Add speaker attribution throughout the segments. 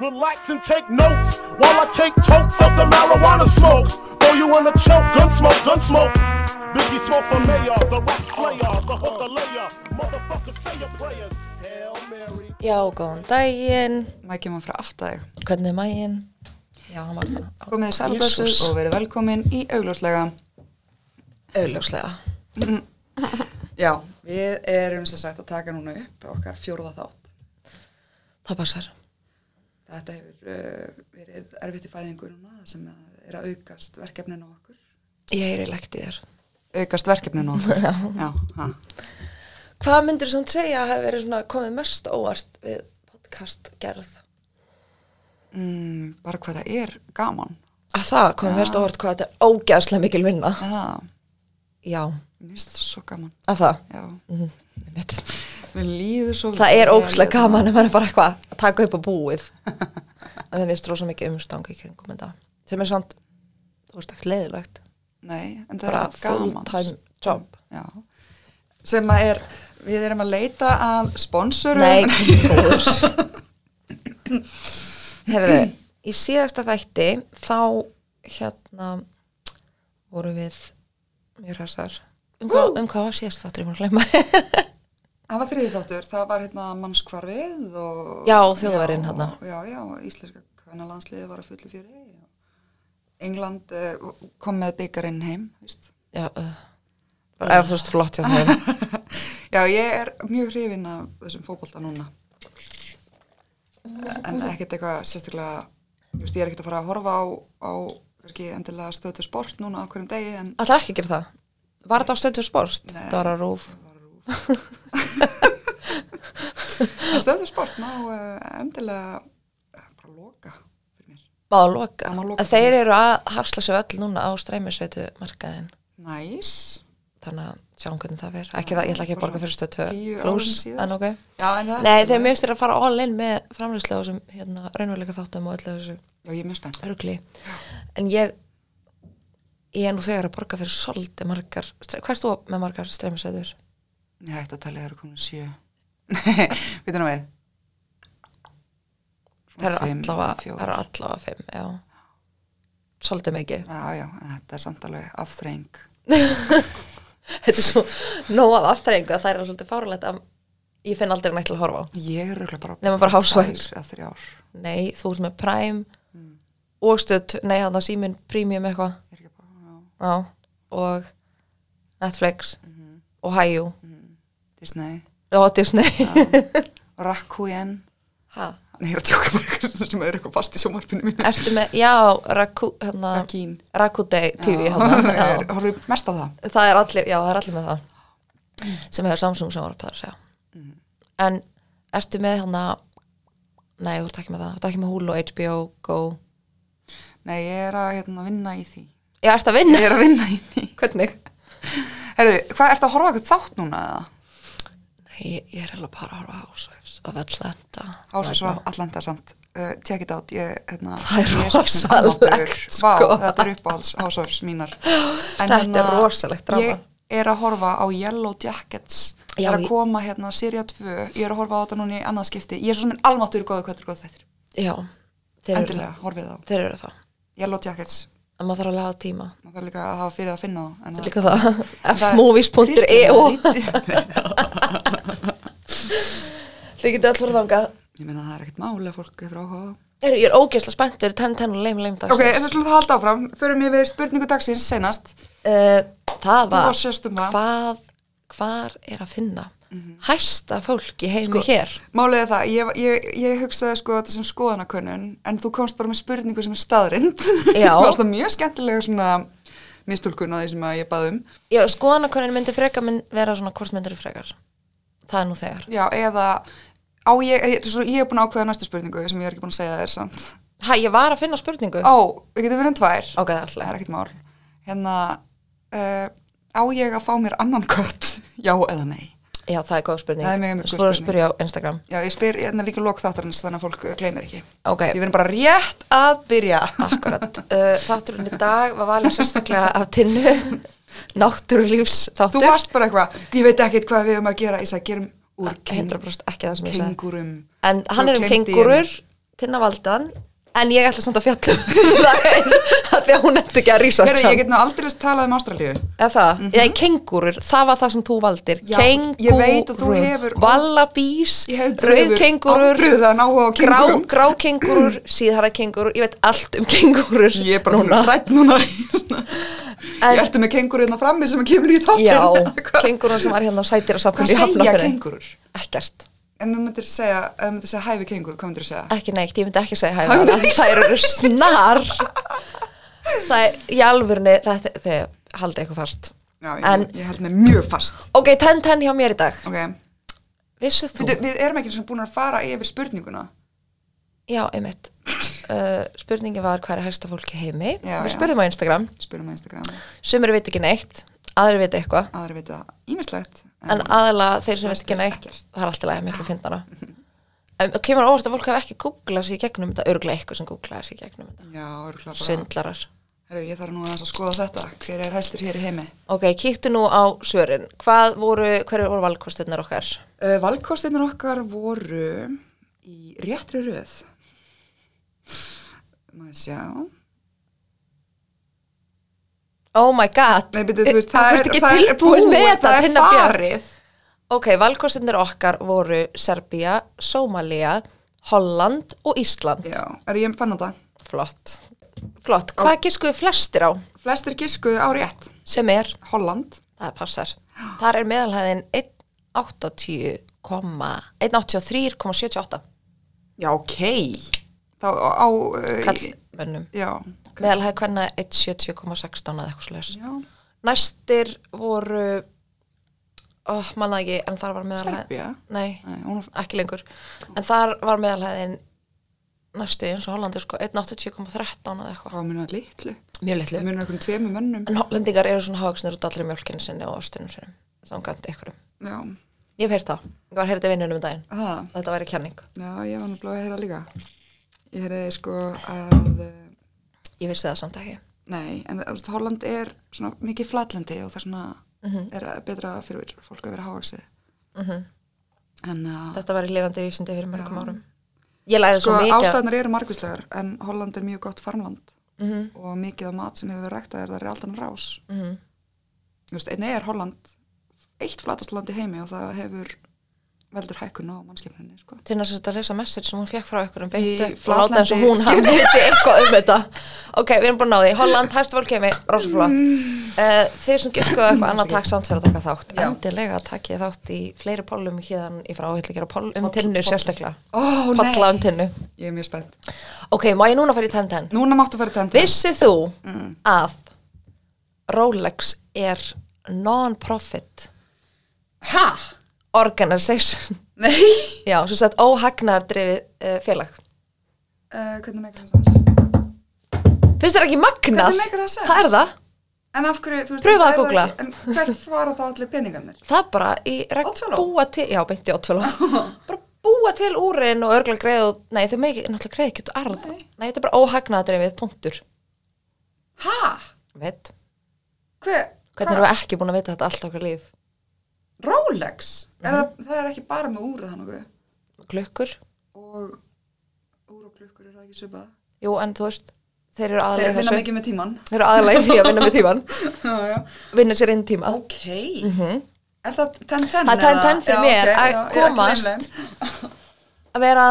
Speaker 1: Relax and take notes while I take totes of the marijuana smoke. Throw you in a choke, gun smoke, gun smoke. Biggie smoke the mayor, the rock slayer, the hooker layer. Motherfucker, say your prayers. Hail Mary.
Speaker 2: Já, góðan daginn,
Speaker 3: Maður kemur frá aftæg.
Speaker 2: hvernig er maginn? Já, hann var það.
Speaker 3: Komið í sælblössu
Speaker 2: Jesús.
Speaker 3: og verið velkomin í augljóslega.
Speaker 2: Auðljóslega.
Speaker 3: Já, við erum sem sagt að taka núna upp okkar fjórða þátt.
Speaker 2: Það passar.
Speaker 3: Þetta hefur uh, verið erfitt í fæðingu núna sem að er að aukast verkefnin á okkur.
Speaker 2: Ég er í lekt í þér.
Speaker 3: Aukast verkefnin á okkur? Já. Já, ha.
Speaker 2: Hvað myndir þú segja að hefur verið svona komið mest óvart við podcastgerð?
Speaker 3: Mm, bara hvað það er gaman.
Speaker 2: Að það komið mest óvart hvað þetta er ógeðslega mikil vinna.
Speaker 3: Já, það,
Speaker 2: Já,
Speaker 3: mér finnst það svo gaman.
Speaker 2: að það.
Speaker 3: Já,
Speaker 2: Mm, ég veit.
Speaker 3: við líður svo
Speaker 2: það er
Speaker 3: vel
Speaker 2: ógeðslega
Speaker 3: hérna.
Speaker 2: gaman að maður er bara eitthvað að taka upp á búið. En við mistur rosa mikið umstang í kringum þetta. Sem er samt, þú veist ekki leiðilegt.
Speaker 3: Nei, en það
Speaker 2: Bara
Speaker 3: er gaman.
Speaker 2: full-time job.
Speaker 3: Já, sem að er, við erum að leita að sponsorum.
Speaker 2: Nei, góður Herðu, í síðasta þætti þá hérna voru við mjög hressar um hvað, um hvað var síðast þáttur ég múin að glemma
Speaker 3: Það var þriðið þáttur, það var hérna mannskvarfið og...
Speaker 2: Já, þjóðverinn
Speaker 3: Já,
Speaker 2: þarna.
Speaker 3: Já, já, íslenska kvennalandsliði var að fullu fjöri. England uh, kom með byggarinn heim, víst?
Speaker 2: Já, uh, eða þú veist flott hjá þeim
Speaker 3: Já, ég er mjög hrifin af þessum fótbolta núna. En ekkert eitthvað sérstaklega, ég veist, ég er ekkert að fara að horfa á, á kannski endilega stöðu sport núna á hverjum degi, en
Speaker 2: Alltaf ekki að gera það Var þetta á stöðtur sport?
Speaker 3: Nei.
Speaker 2: Það var að rúf
Speaker 3: stöðu sport má uh, endilega eh, bara loka fyrir mér.
Speaker 2: Má að loka,
Speaker 3: Já, má loka
Speaker 2: En þeir eru að hasla sér öll núna á streymisveitu markaðin
Speaker 3: Næs.
Speaker 2: Þannig að sjáum hvernig það fer Ekki það, ég ætla ekki að borga fyrir stöðtu
Speaker 3: Tíu árum
Speaker 2: Plus,
Speaker 3: síðar.
Speaker 2: en ok
Speaker 3: Já, en það
Speaker 2: Nei, þeir mjög styrir að fara all in með framlýslu á þessum hérna, raunveruleika þáttum og öllu þessu
Speaker 3: Já, ég er mjög spennt.
Speaker 2: örgli. En ég, ég er nú þegar að borga fyrir svolítið margar, stre- hvað ert þú með margar streymisveitur?
Speaker 3: Ég hætti að tala þegar það komin sjö. Við erum við.
Speaker 2: Það eru
Speaker 3: Fimm,
Speaker 2: allavega,
Speaker 3: fjórar.
Speaker 2: það eru allavega fimm, já. Svolítið mikið.
Speaker 3: Já, já, en þetta er samt alveg afþreng.
Speaker 2: Þetta er svo nóg af aftrengu að það er svolítið fárulegt að ég finn aldrei nætt til að horfa á.
Speaker 3: Ég er röglega bara...
Speaker 2: Nema bara housewife.
Speaker 3: Tvær eða þrjár.
Speaker 2: Nei, þú ert með Prime
Speaker 3: Mm.
Speaker 2: og stöð, nei, hann það síminn Premium eitthvað,
Speaker 3: Ég er ekki bara, já,
Speaker 2: já, og Netflix
Speaker 3: Mhm.
Speaker 2: og Hæjú
Speaker 3: Disney.
Speaker 2: og Disney.
Speaker 3: Rakkujen.
Speaker 2: Ha?
Speaker 3: Nei, ég er að tjóka bara eitthvað sem er eitthvað fast í sjómarpinu mínu.
Speaker 2: Ertu með, já, Raku, hérna,
Speaker 3: Rakín.
Speaker 2: Rakutei TV, hérna,
Speaker 3: Ég
Speaker 2: já.
Speaker 3: er- Horfum mest á það.
Speaker 2: Það er allir, já, það er allir með það,
Speaker 3: Mm.
Speaker 2: sem hefur Samsung sem voru að pæra, já. En ertu með hérna, nei, þú ert ekki með það, þú ert ekki með Hulu, HBO, Go,
Speaker 3: Nei, ég er að hérna, vinna í því.
Speaker 2: já, ertu að vinna?
Speaker 3: Ég er að vinna í því.
Speaker 2: Hvernig?
Speaker 3: Herðu, hvað, ertu að horfa á eitthvað þátt núna eða?
Speaker 2: Nei, ég, ég er alveg bara að horfa á Housewives of Atlanta.
Speaker 3: Houses of Atlanta samt uh, check it out ég, hérna,
Speaker 2: Það er
Speaker 3: ég svo sem
Speaker 2: rosalegt,
Speaker 3: hammaður.
Speaker 2: sko.
Speaker 3: Vá, þetta er uppáhalds Housewives mínar en, hérna,
Speaker 2: Þetta er rosalegt drama.
Speaker 3: ég er að horfa á Yellow Jackets
Speaker 2: Já,
Speaker 3: ég er að
Speaker 2: ég-
Speaker 3: koma hérna Sirja 2 ég er að horfa á þetta núna í annað skipti ég er svo sem minn almáttur góðu hvað þetta er góð þættir
Speaker 2: Já, þeir eru
Speaker 3: endilega
Speaker 2: það,
Speaker 3: horfið á
Speaker 2: þeir eru það,
Speaker 3: Yellow Jackets
Speaker 2: en maður þarf að laga tíma.
Speaker 3: maður þarf líka að hafa fyrir að finna þá en það-
Speaker 2: Líka það, E
Speaker 3: Það-
Speaker 2: fmovies.eu,
Speaker 3: Kristján,
Speaker 2: líkið allir þangað.
Speaker 3: ég meina það er ekkert máli að fólk hefur áhuga á
Speaker 2: Heyrðu, Ég er ógeðslega spennt fyrir 10-10 og leim leim dags.
Speaker 3: ok, en það slúið það halda áfram förum við spurningu dagsins senast
Speaker 2: Uh, það
Speaker 3: Þú
Speaker 2: var,
Speaker 3: varst sérst um það.
Speaker 2: hvað, hvar er að finna
Speaker 3: Mhm.
Speaker 2: hæsta fólk í heimi
Speaker 3: Sko-
Speaker 2: hér?
Speaker 3: Málið er það, ég, ég, ég hugsaði sko þetta sem skoðanakönnun, en þú komst bara með spurningu sem er staðrind.
Speaker 2: Já.
Speaker 3: Mér fannst það mjög skemmtilega svona mistúlkun á því sem að ég baði um.
Speaker 2: Já, skoðanakonin myndi frekar mynd vera svona hvort myndir þú frekar. Það er nú þegar.
Speaker 3: Já, eða á ég, ég, svo, ég er búin að ákveða næstu spurningu sem ég er ekki búin að segja þér, sant?
Speaker 2: Hæ, ég var að finna spurningu.
Speaker 3: Ó, við getum verið um tvær.
Speaker 2: Ok, það er alltaf.
Speaker 3: Það er ekkert mál. Hérna, uh, á ég að fá mér annan kött? Já eða nei?
Speaker 2: Já, það er góð spurning.
Speaker 3: Það er mjög, mjög góð
Speaker 2: Svo voru að
Speaker 3: spurning.
Speaker 2: spyrja á Instagram.
Speaker 3: Já, ég spyr, ég er líka lók þáttarins þannig að fólk eh, gleymir ekki.
Speaker 2: Ok,
Speaker 3: Við verðum bara rétt að byrja.
Speaker 2: akkurat. Uh, þátturinn í dag var valin sérstaklega af tinnu náttúrulífs
Speaker 3: Þú
Speaker 2: þáttur.
Speaker 3: varst bara eitthvað, ég veit ekkert hvað við erum að gera, ég sagði gerum úr
Speaker 2: 100% ekki það sem ég sagði.
Speaker 3: kengurum.
Speaker 2: En hann er um kengurur, um Tinna Valdan en ég ætla samt að fjalla um það af því að hún eftir ekki að rísa
Speaker 3: Heru, ég get nú aldrei talað um Ástralíu
Speaker 2: eða það, mm eða kengúrur, það var það sem þú valdir
Speaker 3: Já,
Speaker 2: kengúrur,
Speaker 3: ég veit að þú hefur-
Speaker 2: vallabís,
Speaker 3: Ég hef
Speaker 2: rauð kengúrur
Speaker 3: ábríðan áhuga á
Speaker 2: grá,
Speaker 3: um kengúrum
Speaker 2: grá kengúrur, síðhara kengúrur ég veit allt um kengúrur
Speaker 3: Ég er bara núna rætt núna Ég ertu með kengúru hérna frammi sem kemur í þáttinn
Speaker 2: já,
Speaker 3: Hvað-
Speaker 2: kengúrun sem var hérna á sætir að
Speaker 3: Hvað
Speaker 2: safnum í
Speaker 3: segja
Speaker 2: hafnafyrir
Speaker 3: kengúrur?
Speaker 2: ekkert,
Speaker 3: En þú myndir segja, ef þú myndir segja hæfi kengúru, hvað myndir þú segja?
Speaker 2: ekki neitt, ég myndi ekki segja
Speaker 3: Hann
Speaker 2: hæfa
Speaker 3: myndi-
Speaker 2: það eru snar það er í alvörni þetta, þegar haldið eitthvað fast
Speaker 3: Já, ég,
Speaker 2: en
Speaker 3: ég held mig mjög fast
Speaker 2: ok, 10-10 hjá mér í dag
Speaker 3: Ok,
Speaker 2: Vissið þú?
Speaker 3: Veitu, við erum ekki eins og búin að fara yfir spurninguna
Speaker 2: Já, einmitt uh, Spurningin var hvað er hægsta fólki í heimi
Speaker 3: Já,
Speaker 2: Við
Speaker 3: já.
Speaker 2: spurðum á Instagram
Speaker 3: Spyrum á Instagram,
Speaker 2: Sumir veit ekki neitt, aðrir veit eitthvað
Speaker 3: aðri veit það ímislegt
Speaker 2: En aðalega þeir sem veit ekki neitt
Speaker 3: Ekkert.
Speaker 2: Það er alltaf lega miklu fyndana En það kemur á óvart að fólk hafi ekki googlað sér í gegnum þetta Örglega eitthvað sem googlaði sér í gegnum þetta
Speaker 3: Já, örgulega bara
Speaker 2: Svindlarar
Speaker 3: Heru, Ég þarf nú aðeins að skoða þetta Hver er hæstur hér í heimi?
Speaker 2: Ok, kíktu nú á svörin Hvað voru, hverju voru valkostinnar okkar?
Speaker 3: Uh, Valkostinir okkar voru í réttri röð. Má ég sjá.
Speaker 2: Oh my god
Speaker 3: Nei, byrju, þú veist,
Speaker 2: Það
Speaker 3: það
Speaker 2: er
Speaker 3: er,
Speaker 2: Eh, ekki
Speaker 3: það er
Speaker 2: tilbúin með þetta
Speaker 3: það er
Speaker 2: Tinna Björk.
Speaker 3: farið.
Speaker 2: Ok, valkostinnar okkar voru Serbía, Sómalía, Holland og Ísland
Speaker 3: Já, er ég fann þetta.
Speaker 2: Flott. Flott. Hvað giskuðu flestir á
Speaker 3: Flestir giskuðu á rétt.
Speaker 2: sem er,
Speaker 3: Holland.
Speaker 2: það passar, þar er meðalhæðin 180, 183,78
Speaker 3: Já, ok. Þá á... Uh,
Speaker 2: kallmönnum.
Speaker 3: Já.
Speaker 2: Meðalhæði hvenna 170,16 eða eitthvað slags.
Speaker 3: Já.
Speaker 2: Næstir voru, oh, manna ekki, en þar var meðalhæðin.
Speaker 3: Serbía?
Speaker 2: Nei,
Speaker 3: Nei, hún er-
Speaker 2: ekki lengur. En þar var meðalhæðin næstu eins og Hollandi, sko, 180,13 eða eitthvað.
Speaker 3: Hvað munar litlu?
Speaker 2: Mjög litlu.
Speaker 3: Það munar einhvern tveimur mönnum.
Speaker 2: En hollendingar eru svona hafaksinir út allir mjölkinni sinni og ástinum sinni, samkvæmt ykkurum.
Speaker 3: Já.
Speaker 2: Ég hef heyrt það. Ég var heyrði vinnunum um daginn.
Speaker 3: Það.
Speaker 2: Þetta væri kenning.
Speaker 3: Já, ég var náttúrulega að heyra líka. Ég heyrði sko að... Uh,
Speaker 2: Ég vissi það samt ekki.
Speaker 3: Nei, en þú veist, Holland er svona mikið flatlendi og það svona
Speaker 2: Mhm.
Speaker 3: er betra fyrir fólk að vera hávaksið. En uh,
Speaker 2: Þetta væri lifandi vísindi fyrir mörgum árum. Ég læði
Speaker 3: sko,
Speaker 2: svo mikið.
Speaker 3: ástæðnar eru margvíslegar en Holland er mjög gott farmland
Speaker 2: Mhm.
Speaker 3: og mikið af mat sem hefur verið ræktað er það er aldan rás. Mm -hmm. veist, einnig er Holland eitt flatast land í heimi og það hefur veldur hækkun á mannskipninni, sko.
Speaker 2: Til þess að þetta lesa message sem hún fekk frá ykkur um
Speaker 3: Í
Speaker 2: beintu og láta eins og
Speaker 3: flatlandi
Speaker 2: hún hafi viti eitthvað um þetta. Ok, við erum búin að ná því. Holland, hæstu fólk kemi, rosaflott. Uh, þið sem giskuðu eitthvað annað takk samt fyrir að taka þátt.
Speaker 3: Mm. Já.
Speaker 2: Endilega takk ég þátt í fleiri pollum hérna í frá. Ég ætla að gera poll um
Speaker 3: Poll-
Speaker 2: tinnu
Speaker 3: poll.
Speaker 2: sérstaklega.
Speaker 3: Ó, nei.
Speaker 2: Polla um tinnu.
Speaker 3: Ég er mjög spennt.
Speaker 2: Ok, má ég núna fara í 10-10?
Speaker 3: Núna máttu fara tendur.
Speaker 2: Vissið þú
Speaker 3: Mm.
Speaker 2: að Rolex er non-profit
Speaker 3: Ha?
Speaker 2: organization
Speaker 3: Nei.
Speaker 2: Já, svo sett óhagnardrifið uh, félag
Speaker 3: Uh, hvernig meikar það sens?
Speaker 2: Finnst þér ekki magnað?
Speaker 3: Hvernig meikar það sens?
Speaker 2: er það
Speaker 3: En af hverju, þú veist,
Speaker 2: Pröfaðu
Speaker 3: það
Speaker 2: að
Speaker 3: er það
Speaker 2: googla.
Speaker 3: ekki- En hvert fara þá allir peningarnir?
Speaker 2: Það er bara í regn
Speaker 3: Oddfellow? Ah.
Speaker 2: búa til Já, beinti ótvölu Bara búa til úrin og örgla greið og, Nei, þau megi náttúrulega greið ekki út arð Nei, þetta er bara óhagnardrifið punktur
Speaker 3: Hæ?
Speaker 2: Veit
Speaker 3: Hver?
Speaker 2: Hvernig erum við ekki búin að vita þetta allt okkar líf?
Speaker 3: Rolex?
Speaker 2: Mhm.
Speaker 3: Er það, það er ekki bara með úrið hann okkur.
Speaker 2: Klukkur
Speaker 3: Og úr og klukkur er það ekki svipað.
Speaker 2: Jú, en þú veist Þeir eru
Speaker 3: Þeir
Speaker 2: aðlega
Speaker 3: vinna mikið með tíman.
Speaker 2: Þeir eru aðlega í því að vinna með tíman
Speaker 3: Já, já.
Speaker 2: Vinna sér inn tíma
Speaker 3: Ok. Er það 10-10?
Speaker 2: Mhm. Það er 10-10 fyrir mér að komast.
Speaker 3: Ég er ekki leim
Speaker 2: að vera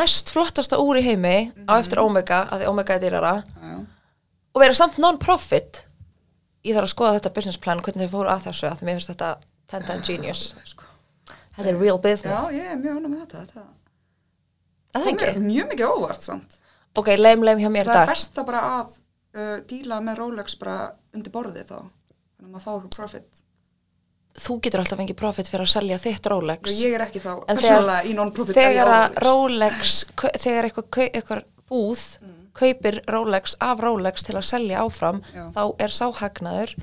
Speaker 2: næst flottasta úr í heimi á eftir Omega, að því Omega er dýrara
Speaker 3: þeim.
Speaker 2: og vera samt non-profit ég þarf að skoða þetta business plan hvernig þið fóru að þessu, að því mér finnst þetta 10-10 genius,
Speaker 3: Já, já. Sko.
Speaker 2: þetta er real
Speaker 3: Já,
Speaker 2: business
Speaker 3: ég er mjög honum með þetta. þetta.
Speaker 2: að það
Speaker 3: Kom mér
Speaker 2: ekki,
Speaker 3: mjög mikið óvart samt.
Speaker 2: ok, leim leim hjá mér í
Speaker 3: Það er
Speaker 2: dag,
Speaker 3: best þá bara að uh, díla með Rolex bara undir borðið þá. Þannig að maður fá eitthvað profit.
Speaker 2: þú getur alltaf fengið profit fyrir að selja þitt
Speaker 3: Já,
Speaker 2: Rolex
Speaker 3: Sko, ég er ekki þá
Speaker 2: en þegar,
Speaker 3: persónulega í non-profit
Speaker 2: þegar að
Speaker 3: Rolex.
Speaker 2: Rolex kau- þegar eitthvað, kau- eitthvað búð kaupir Rolex af Rolex til að selja áfram,
Speaker 3: Já.
Speaker 2: þá er sáhagnaður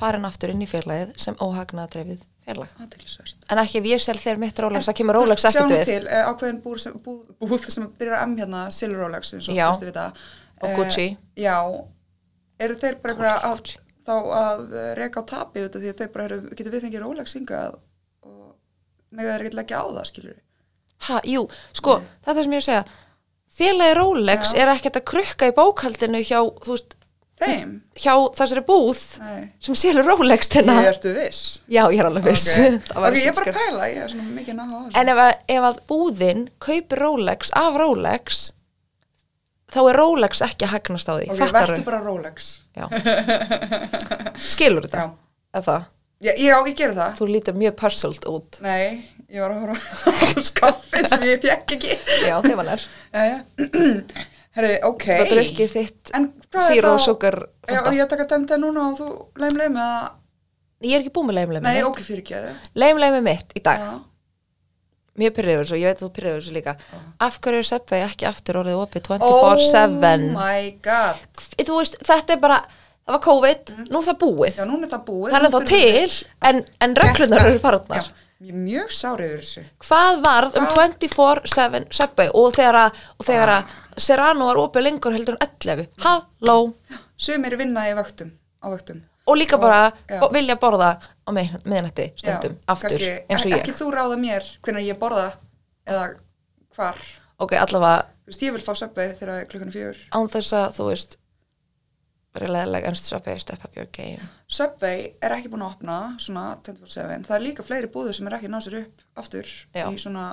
Speaker 2: farin aftur inn í félagið sem óhagnaðadreifið félag
Speaker 3: aðtilsvert
Speaker 2: En ekki ef ég sel þér mitt Rolex, það kemur Rolex ekkert við.
Speaker 3: til, uh, ákveðin búð sem, búð, búð sem byrjar am hérna Silver Rolex eins og
Speaker 2: Já.
Speaker 3: fyrstu við það
Speaker 2: Og Gucci.
Speaker 3: Já, eru þeir bara eitthvað að, þá að eh, reka á tapið út af því að þeir bara eru, getur við fengið Rolex hingað og mega þeir ekki leggja á það skilur
Speaker 2: Ha, jú, sko, þetta er sem ég er að segja. félagi Rolex
Speaker 3: Já.
Speaker 2: er ekkert að krukka í bókhaldinu hjá, þú veist,
Speaker 3: Þeim?
Speaker 2: hjá þessari búð
Speaker 3: Nei.
Speaker 2: sem selur Rolex til
Speaker 3: Ég
Speaker 2: það.
Speaker 3: ertu viss.
Speaker 2: Já, ég er alveg viss. Það
Speaker 3: Ok,
Speaker 2: var
Speaker 3: okay ég er
Speaker 2: ekki
Speaker 3: bara að
Speaker 2: skar-
Speaker 3: pæla, ég er svona mikið náða á þessu.
Speaker 2: En ef að, ef að búðin kaupir Rolex af Rolex, þá er Rolex ekki að hagnast á því.
Speaker 3: Ok,
Speaker 2: Fattarðu?
Speaker 3: verður bara Rolex.
Speaker 2: Já. Skilur þetta?
Speaker 3: Já.
Speaker 2: Eða það?
Speaker 3: Já, ég á ekki að gera það.
Speaker 2: Þú lítur mjög puzzled út.
Speaker 3: Nei, ég var að horfa á skaffið sem ég fekk ekki.
Speaker 2: Já, þegar hann er.
Speaker 3: Jæja. Herri, ok.
Speaker 2: Það er ekki þitt
Speaker 3: En hvað er
Speaker 2: zero
Speaker 3: það-
Speaker 2: sugar.
Speaker 3: Já,
Speaker 2: fanta.
Speaker 3: og ég taka tenda núna og þú leim leim eða...
Speaker 2: Ég er ekki búin með leimleimi
Speaker 3: Nei,
Speaker 2: mitt.
Speaker 3: ok, fyrir ekki að þið.
Speaker 2: Leimleimi mitt í dag.
Speaker 3: Já.
Speaker 2: Mjög pyrrður þessu, ég veit að þú pyrrður þessu líka. Af hverju er Subway ekki aftur orðið opið
Speaker 3: Oh
Speaker 2: 24-7?
Speaker 3: my god.
Speaker 2: þú veist, þetta er bara, það var COVID, nú er það búið.
Speaker 3: Mm. Já, núna er það búið.
Speaker 2: það er
Speaker 3: Nú
Speaker 2: ennþá
Speaker 3: þurfum við-
Speaker 2: til, en, en reglunar eru farnar.
Speaker 3: Já, ég er mjög sárið yfir þessu.
Speaker 2: Hvað varð um 24-7 Subway og þegar að, og þegar
Speaker 3: Ah.
Speaker 2: að Serrano var opið lengur heldur en 11? Halló!
Speaker 3: Sumir vinna í vaktum, á vaktum.
Speaker 2: Og líka bara
Speaker 3: já.
Speaker 2: bo- vilja borða á mið- miðnætti stundum,
Speaker 3: Já,
Speaker 2: aftur,
Speaker 3: kannski-
Speaker 2: eins og ég.
Speaker 3: Ekki þú ráða mér hvernig ég borða eða hvar.
Speaker 2: Ok, allavega
Speaker 3: Þú veist, ég vil fá söpbið þegar klukkan er fjögur.
Speaker 2: án þess að þú veist verið leðileg ennst Subway, step up your game
Speaker 3: Subway er ekki búin að opna svona 24-7, það er líka fleiri búður sem er ekki að ná sér upp aftur
Speaker 2: Já.
Speaker 3: í svona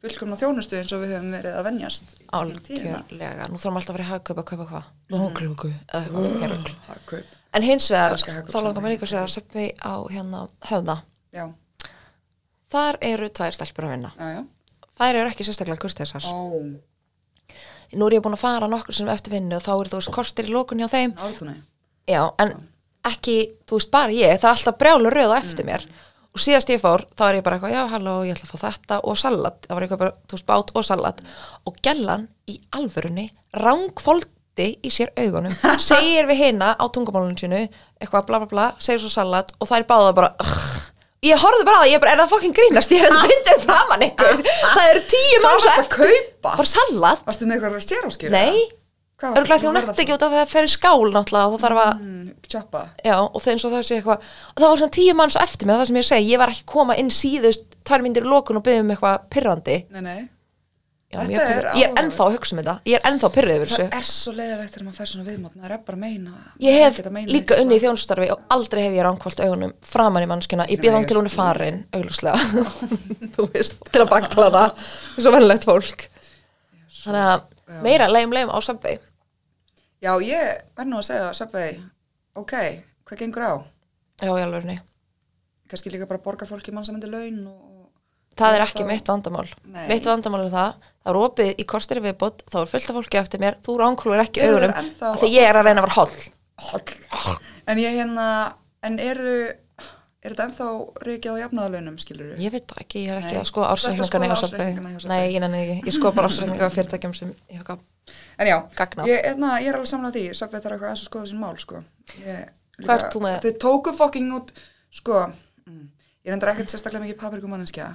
Speaker 3: fullkomna þjónustu eins og við höfum verið að venjast í gegnum tíðina.
Speaker 2: algjörlega, nú þarfum alltaf að vera í hagkaup að kaupa hvað, lóklúku eða eitthvað frekar rugl.
Speaker 3: Hagkaup.
Speaker 2: en hins vegar,
Speaker 3: Elska hagkaup
Speaker 2: þá langar
Speaker 3: saman.
Speaker 2: mér líka að segja að Subway á hérna höfða
Speaker 3: Já,
Speaker 2: þar eru tvær stelpur að vinna
Speaker 3: já, já.
Speaker 2: þær eru ekki sérstaklega kursteisar
Speaker 3: Ó,
Speaker 2: nú er ég búin að fara nokkur sem eftir vinnu og þá eru þú veist kortir í lókun hjá þeim
Speaker 3: ártunni.
Speaker 2: já, en ekki, þú veist bara ég það er alltaf brjálu röð á eftir mér og síðast ég fór, þá er ég bara eitthvað, já, halló, ég ætla að fá þetta og salat, það var eitthvað bara, þú veist, bát og salat og gellan í alvörunni rangfóldi í sér augunum segir við hina á tungumálunum sínu eitthvað bla bla bla, segir svo salat og það er báða bara, "Ugh." ég horfði bara á það, ég bara, er það fokkin grínast, ég er að vinda framan ykkur, það eru tíu
Speaker 3: Hvað
Speaker 2: manns á
Speaker 3: varstu að
Speaker 2: eftir,
Speaker 3: kaupa?
Speaker 2: bara salat
Speaker 3: Varstu með eitthvað stjárháskýra?
Speaker 2: nei, örgulega því hún eftir ekki út af því að það fer í skál náttúrulega og það þarf að
Speaker 3: Tjappa.
Speaker 2: Já, og það eins og það sé eitthvað og það var svona tíu manns á eftir með það sem ég segi ég var ekki að koma inn síðust tvær myndir í lokun og byggði um eitthvað pyrrandi
Speaker 3: Nei, nei.
Speaker 2: Já,
Speaker 3: Þetta
Speaker 2: mjög
Speaker 3: er
Speaker 2: pirrandi. ég er
Speaker 3: áhugavert.
Speaker 2: ennþá að hugsa um þetta ég er ennþá pyrrið yfir
Speaker 3: Það
Speaker 2: þessu
Speaker 3: er svo leiðilegt þegar maður fær svona viðmót, maður er bara að meina.
Speaker 2: ég hef
Speaker 3: Ekkert að meina
Speaker 2: líka
Speaker 3: neitt,
Speaker 2: unni í
Speaker 3: sko.
Speaker 2: þjónustarfi og aldrei hef ég ránkvalt augunum framan í mannskina ég
Speaker 3: Nei,
Speaker 2: býð þang til hún er farin, augljóslega þú veist, til að baktala það eins og vennlegt fólk þannig að meira leim leim á sabbi
Speaker 3: Já, ég verð nú að segja, Söpvei, ok, hvað gengur á?
Speaker 2: já, ég alveg nei
Speaker 3: Kannski líka bara borga fólki mannsamandi laun og...
Speaker 2: það er ekki mitt vandamál
Speaker 3: Nei.
Speaker 2: mitt vandamál er það, það er opið í kortir viðbót, þá er fullt af fólki eftir mér þú ránkrúir ekki
Speaker 3: Eru
Speaker 2: augunum
Speaker 3: þeir ennþá
Speaker 2: af því ég er að reyna að vera holl
Speaker 3: Holl. En ég hérna, en eru, er þetta ennþá reykjað á jafnaðalaunum, skilur við?
Speaker 2: ég veit það ekki, ég er ekki
Speaker 3: Nei.
Speaker 2: að skoða ársreikningana
Speaker 3: Þú ert að
Speaker 2: hjá
Speaker 3: skoða
Speaker 2: Subway.
Speaker 3: ársreikningana hjá Subway.
Speaker 2: nei, ég nenni ekki, ég skoða bara ársreikninga á fyrirtækjum sem ég hef
Speaker 3: En já,
Speaker 2: Gagnað.
Speaker 3: ég, hérna, ég er alveg samlega því, Söpvei þarf eitthvað aðeins að skoða sín mál, sko. Ég,
Speaker 2: Hvað ert þú með?
Speaker 3: Þau tóku fokking út, sko, mm, ég reyndar ekkert sérstaklega mikið paprikumanninskja.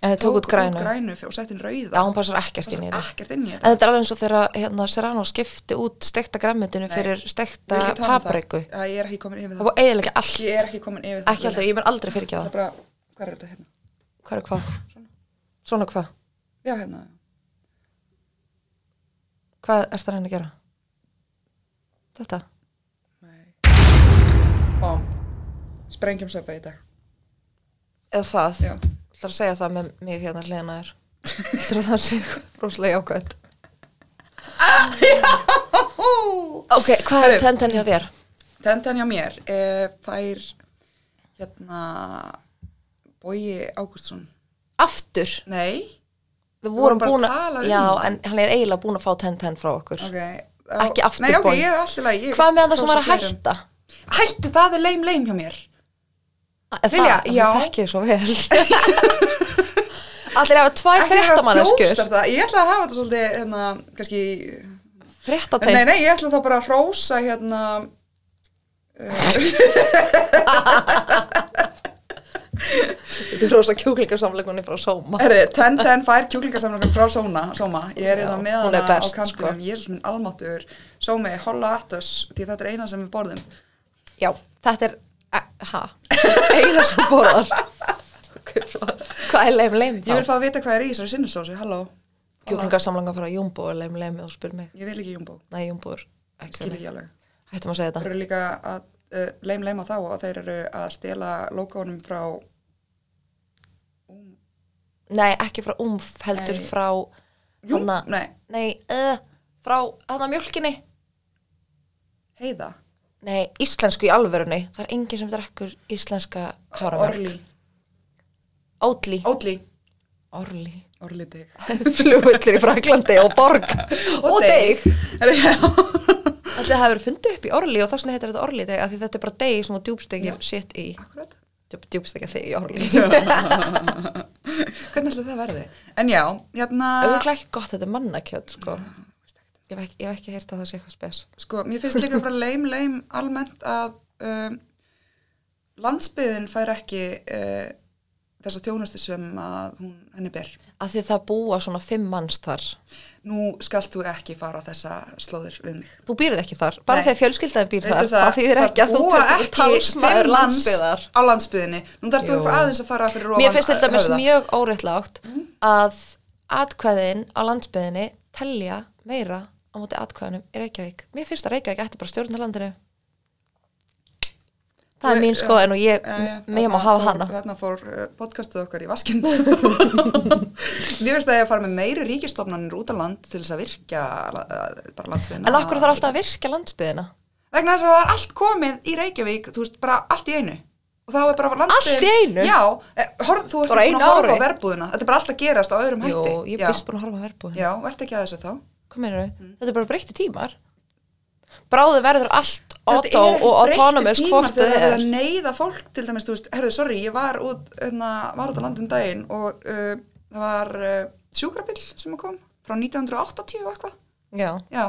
Speaker 2: en þið tók út grænu,
Speaker 3: grænu og sett inn rauða.
Speaker 2: já, hún passar ekkert inn í þetta
Speaker 3: Ekkert inn í
Speaker 2: en þetta er alveg eins og þegar hérna, Serrano skipti út stekta græmmetinu
Speaker 3: Nei.
Speaker 2: fyrir
Speaker 3: Vil
Speaker 2: stekta
Speaker 3: ekki tala um
Speaker 2: papriku
Speaker 3: Það, það ég er ekki komin yfir
Speaker 2: það
Speaker 3: það.
Speaker 2: var eiginlega allt,
Speaker 3: Ég er ekki komin yfir það.
Speaker 2: ekki alltaf, ég mun aldrei fyrirgefa
Speaker 3: Það er
Speaker 2: það
Speaker 3: bara, hvað er þetta hérna?
Speaker 2: hvað er hvað? svona hvað?
Speaker 3: Já, hérna.
Speaker 2: hvað ert það að reyna að gera? þetta?
Speaker 3: Nei. Bám. Sprengjum söpa í dag.
Speaker 2: eða það,
Speaker 3: Já.
Speaker 2: ætlar að segja það með mig hérna hliðina þér ætlar að það sé rosalega jákvæmt
Speaker 3: Hú!
Speaker 2: ok, hvað er
Speaker 3: Herru.
Speaker 2: tenten hjá þér?
Speaker 3: Tentan hjá mér eh, fær hérna Bói Ágústsson.
Speaker 2: aftur,
Speaker 3: Nei.
Speaker 2: við
Speaker 3: vorum
Speaker 2: vorum
Speaker 3: bara
Speaker 2: búin
Speaker 3: að tala um
Speaker 2: að já,
Speaker 3: það.
Speaker 2: en hann er eiginlega búin að fá tenten frá okkur
Speaker 3: Ok.
Speaker 2: Ekki aftur
Speaker 3: Nei, ok,
Speaker 2: Bogi.
Speaker 3: ég er alltaf læg.
Speaker 2: hvað með það sem var að hætta?
Speaker 3: Hættu, það er leim leim hjá mér.
Speaker 2: Eða
Speaker 3: Vilja,
Speaker 2: það,
Speaker 3: já.
Speaker 2: það þekki þið svo vel allir hafa tvær
Speaker 3: Ekki vera
Speaker 2: fréttamanneskur
Speaker 3: þjófstarf það. Ég ætla að hafa þetta svolítið, hérna, kannski... Nei,
Speaker 2: fréttatein,
Speaker 3: nei, ég ætla þá bara að hrósa, hérna...
Speaker 2: þetta er rosa kjúklingarsamleikunni frá Sóma
Speaker 3: Herri, Ten Ten fær kjúklingasamlokan frá Sóna, Sóma. Ég er
Speaker 2: Já,
Speaker 3: hérna með
Speaker 2: hún er
Speaker 3: hana á
Speaker 2: best,
Speaker 3: kantinum.
Speaker 2: sko.
Speaker 3: Jésús minn almáttur. Sómi, holla aðtöss, því þetta er eina sem við borðum.
Speaker 2: já, þetta er eh, ha, eina sem borðar Ok, flott. hvað er leim leim
Speaker 3: Ég
Speaker 2: þá?
Speaker 3: vil fá að vita hvað er í þessari sinnusósu, halló.
Speaker 2: kjúklingarsamlanga frá Jumbo og leim leim og spyr mig,
Speaker 3: Ég vil ekki jumbo,
Speaker 2: nei Jumbo er ekki
Speaker 3: skil
Speaker 2: leim
Speaker 3: ekki alveg.
Speaker 2: hættum að segja
Speaker 3: Þeir
Speaker 2: þetta,
Speaker 3: eru líka að uh, leim leima þá og þeir eru að stela logounum frá
Speaker 2: nei ekki frá umf heldur
Speaker 3: Nei.
Speaker 2: frá
Speaker 3: Jú,
Speaker 2: Hanna-
Speaker 3: nei,
Speaker 2: nei, uh, frá hann að mjölkinni
Speaker 3: heiða,
Speaker 2: nei, íslensku í alvörunni það er enginn sem drekkur íslenska
Speaker 3: orli,
Speaker 2: háramjölk, ódli
Speaker 3: ódli,
Speaker 2: orli,
Speaker 3: orli dig.
Speaker 2: flugvöllir í Fraklandi og borg og deg
Speaker 3: Herru, já.
Speaker 2: Ætli það hefur verið fundið upp í orli og þess vegna heitir þetta orli deg af því þetta er bara deg sem þú djúbstekja
Speaker 3: Já.
Speaker 2: shit í
Speaker 3: Akkurat.
Speaker 2: djúbstekja þig í orli
Speaker 3: Hvernig ætlaði það verði? En já, hérna,
Speaker 2: auðvitað ekki gott þetta er mannakjöt sko. ég hef ekki, ég hef ekki heyrt að það sé eitthvað spes
Speaker 3: sko, mér finnst líka bara leim leim almennt að um, landsbyðin fær ekki uh, þessa þjónustu sem að hún henni ber.
Speaker 2: af því það búa svona fimm manns þar
Speaker 3: Nú skalt þú ekki fara þessa slóðir við mig.
Speaker 2: þú býrð ekki þar, bara
Speaker 3: Nei.
Speaker 2: þegar fjölskyldaðin býr
Speaker 3: Veistu
Speaker 2: þar það þýðir ekki að þú
Speaker 3: búa
Speaker 2: tekur
Speaker 3: ekki
Speaker 2: talsmaður
Speaker 3: fimm manns
Speaker 2: landsbyðar
Speaker 3: á landsbyðinni, nú þarf þú
Speaker 2: Jú.
Speaker 3: eitthvað aðeins að fara fyrir ofan
Speaker 2: mér finnst þetta
Speaker 3: höfða.
Speaker 2: mjög óréttlátt
Speaker 3: Mm.
Speaker 2: að atkvæðin á landsbyðinni telja meira á móti atkvæðinum í Reykjavík mér finnst að Reykjavík ætti bara að stjórna landinu það
Speaker 3: Þú-
Speaker 2: er mín sko en og ég,
Speaker 3: Jæja,
Speaker 2: mér má
Speaker 3: þarna
Speaker 2: hafa
Speaker 3: fór-
Speaker 2: hana
Speaker 3: Þarna fór uh, podcastið okkar í vaskinn Mér finnst að ég að fara með meiri ríkistofnanir út á land til þess að virkja uh, bara landsbyðina
Speaker 2: en okkur þarf alltaf að virka landsbyðina
Speaker 3: Vegna þess að það er allt komið í Reykjavík, þú veist, bara allt í einu Og þá er bara landsbyðin
Speaker 2: Allt í einu?
Speaker 3: Já, eh, horf, þú ert
Speaker 2: Bara
Speaker 3: ekki búin
Speaker 2: einu
Speaker 3: að horfa
Speaker 2: ári?
Speaker 3: á verbúðina Þetta er bara allt að gerast á öðrum
Speaker 2: Jú,
Speaker 3: hætti
Speaker 2: ég
Speaker 3: Já.
Speaker 2: er fyrst búin að horfa að verðbúðin
Speaker 3: Já, ert ekki að þessu þá
Speaker 2: hvað meinar þau? Þetta er bara breytti tímar bráðu verður allt
Speaker 3: Þetta
Speaker 2: auto
Speaker 3: er ekki
Speaker 2: og
Speaker 3: breyttu
Speaker 2: autonomous
Speaker 3: tímar
Speaker 2: hvort
Speaker 3: þegar
Speaker 2: þau
Speaker 3: það er
Speaker 2: er
Speaker 3: að neyða fólk til dæmis, þú veist, herðu, sorry, ég var út hérna, var út á landum daginn og uh, það var uh, sjúkrabill sem kom frá 1980 og eitthvað
Speaker 2: já,
Speaker 3: já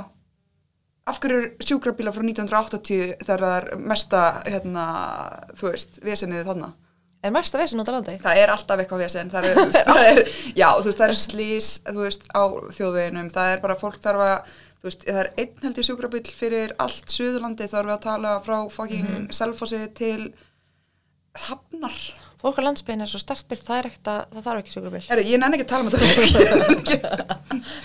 Speaker 3: af hverju er sjúkrabíla frá 1980 þegar það er mesta hérna, þú veist, vesenið þarna
Speaker 2: er mesta vesen út á landi
Speaker 3: það er alltaf eitthvað vesen það er, þú veist, það er, já, þú veist, það er slís þú veist, á þjóðveginum, það er bara fólk þarf að, þú veist, það er einn heldur sjúkrabill fyrir allt Suðurlandi þá erum við að tala frá fucking
Speaker 2: Mhm.
Speaker 3: Selfossi til Hafnar
Speaker 2: fólk á landsbygðin er svo startbyrð það er ekkert að, það þarf ekki sjúkrabíl
Speaker 3: Heru, ég nenni ekki að tala um þetta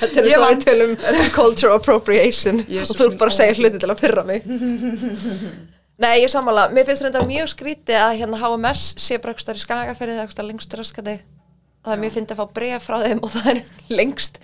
Speaker 2: þetta
Speaker 3: Ég vann.
Speaker 2: tölum cultural appropriation
Speaker 3: Ég er svo
Speaker 2: ert að segja hluti til að pyrra mig Nei, ég er sammála, mér finnst þetta mjög skrítið að hérna HMS sé bara eitthvað í skagaferði eða eitthvað lengst raskandi það er mjög fyndið að fá bregð frá þeim og það er lengst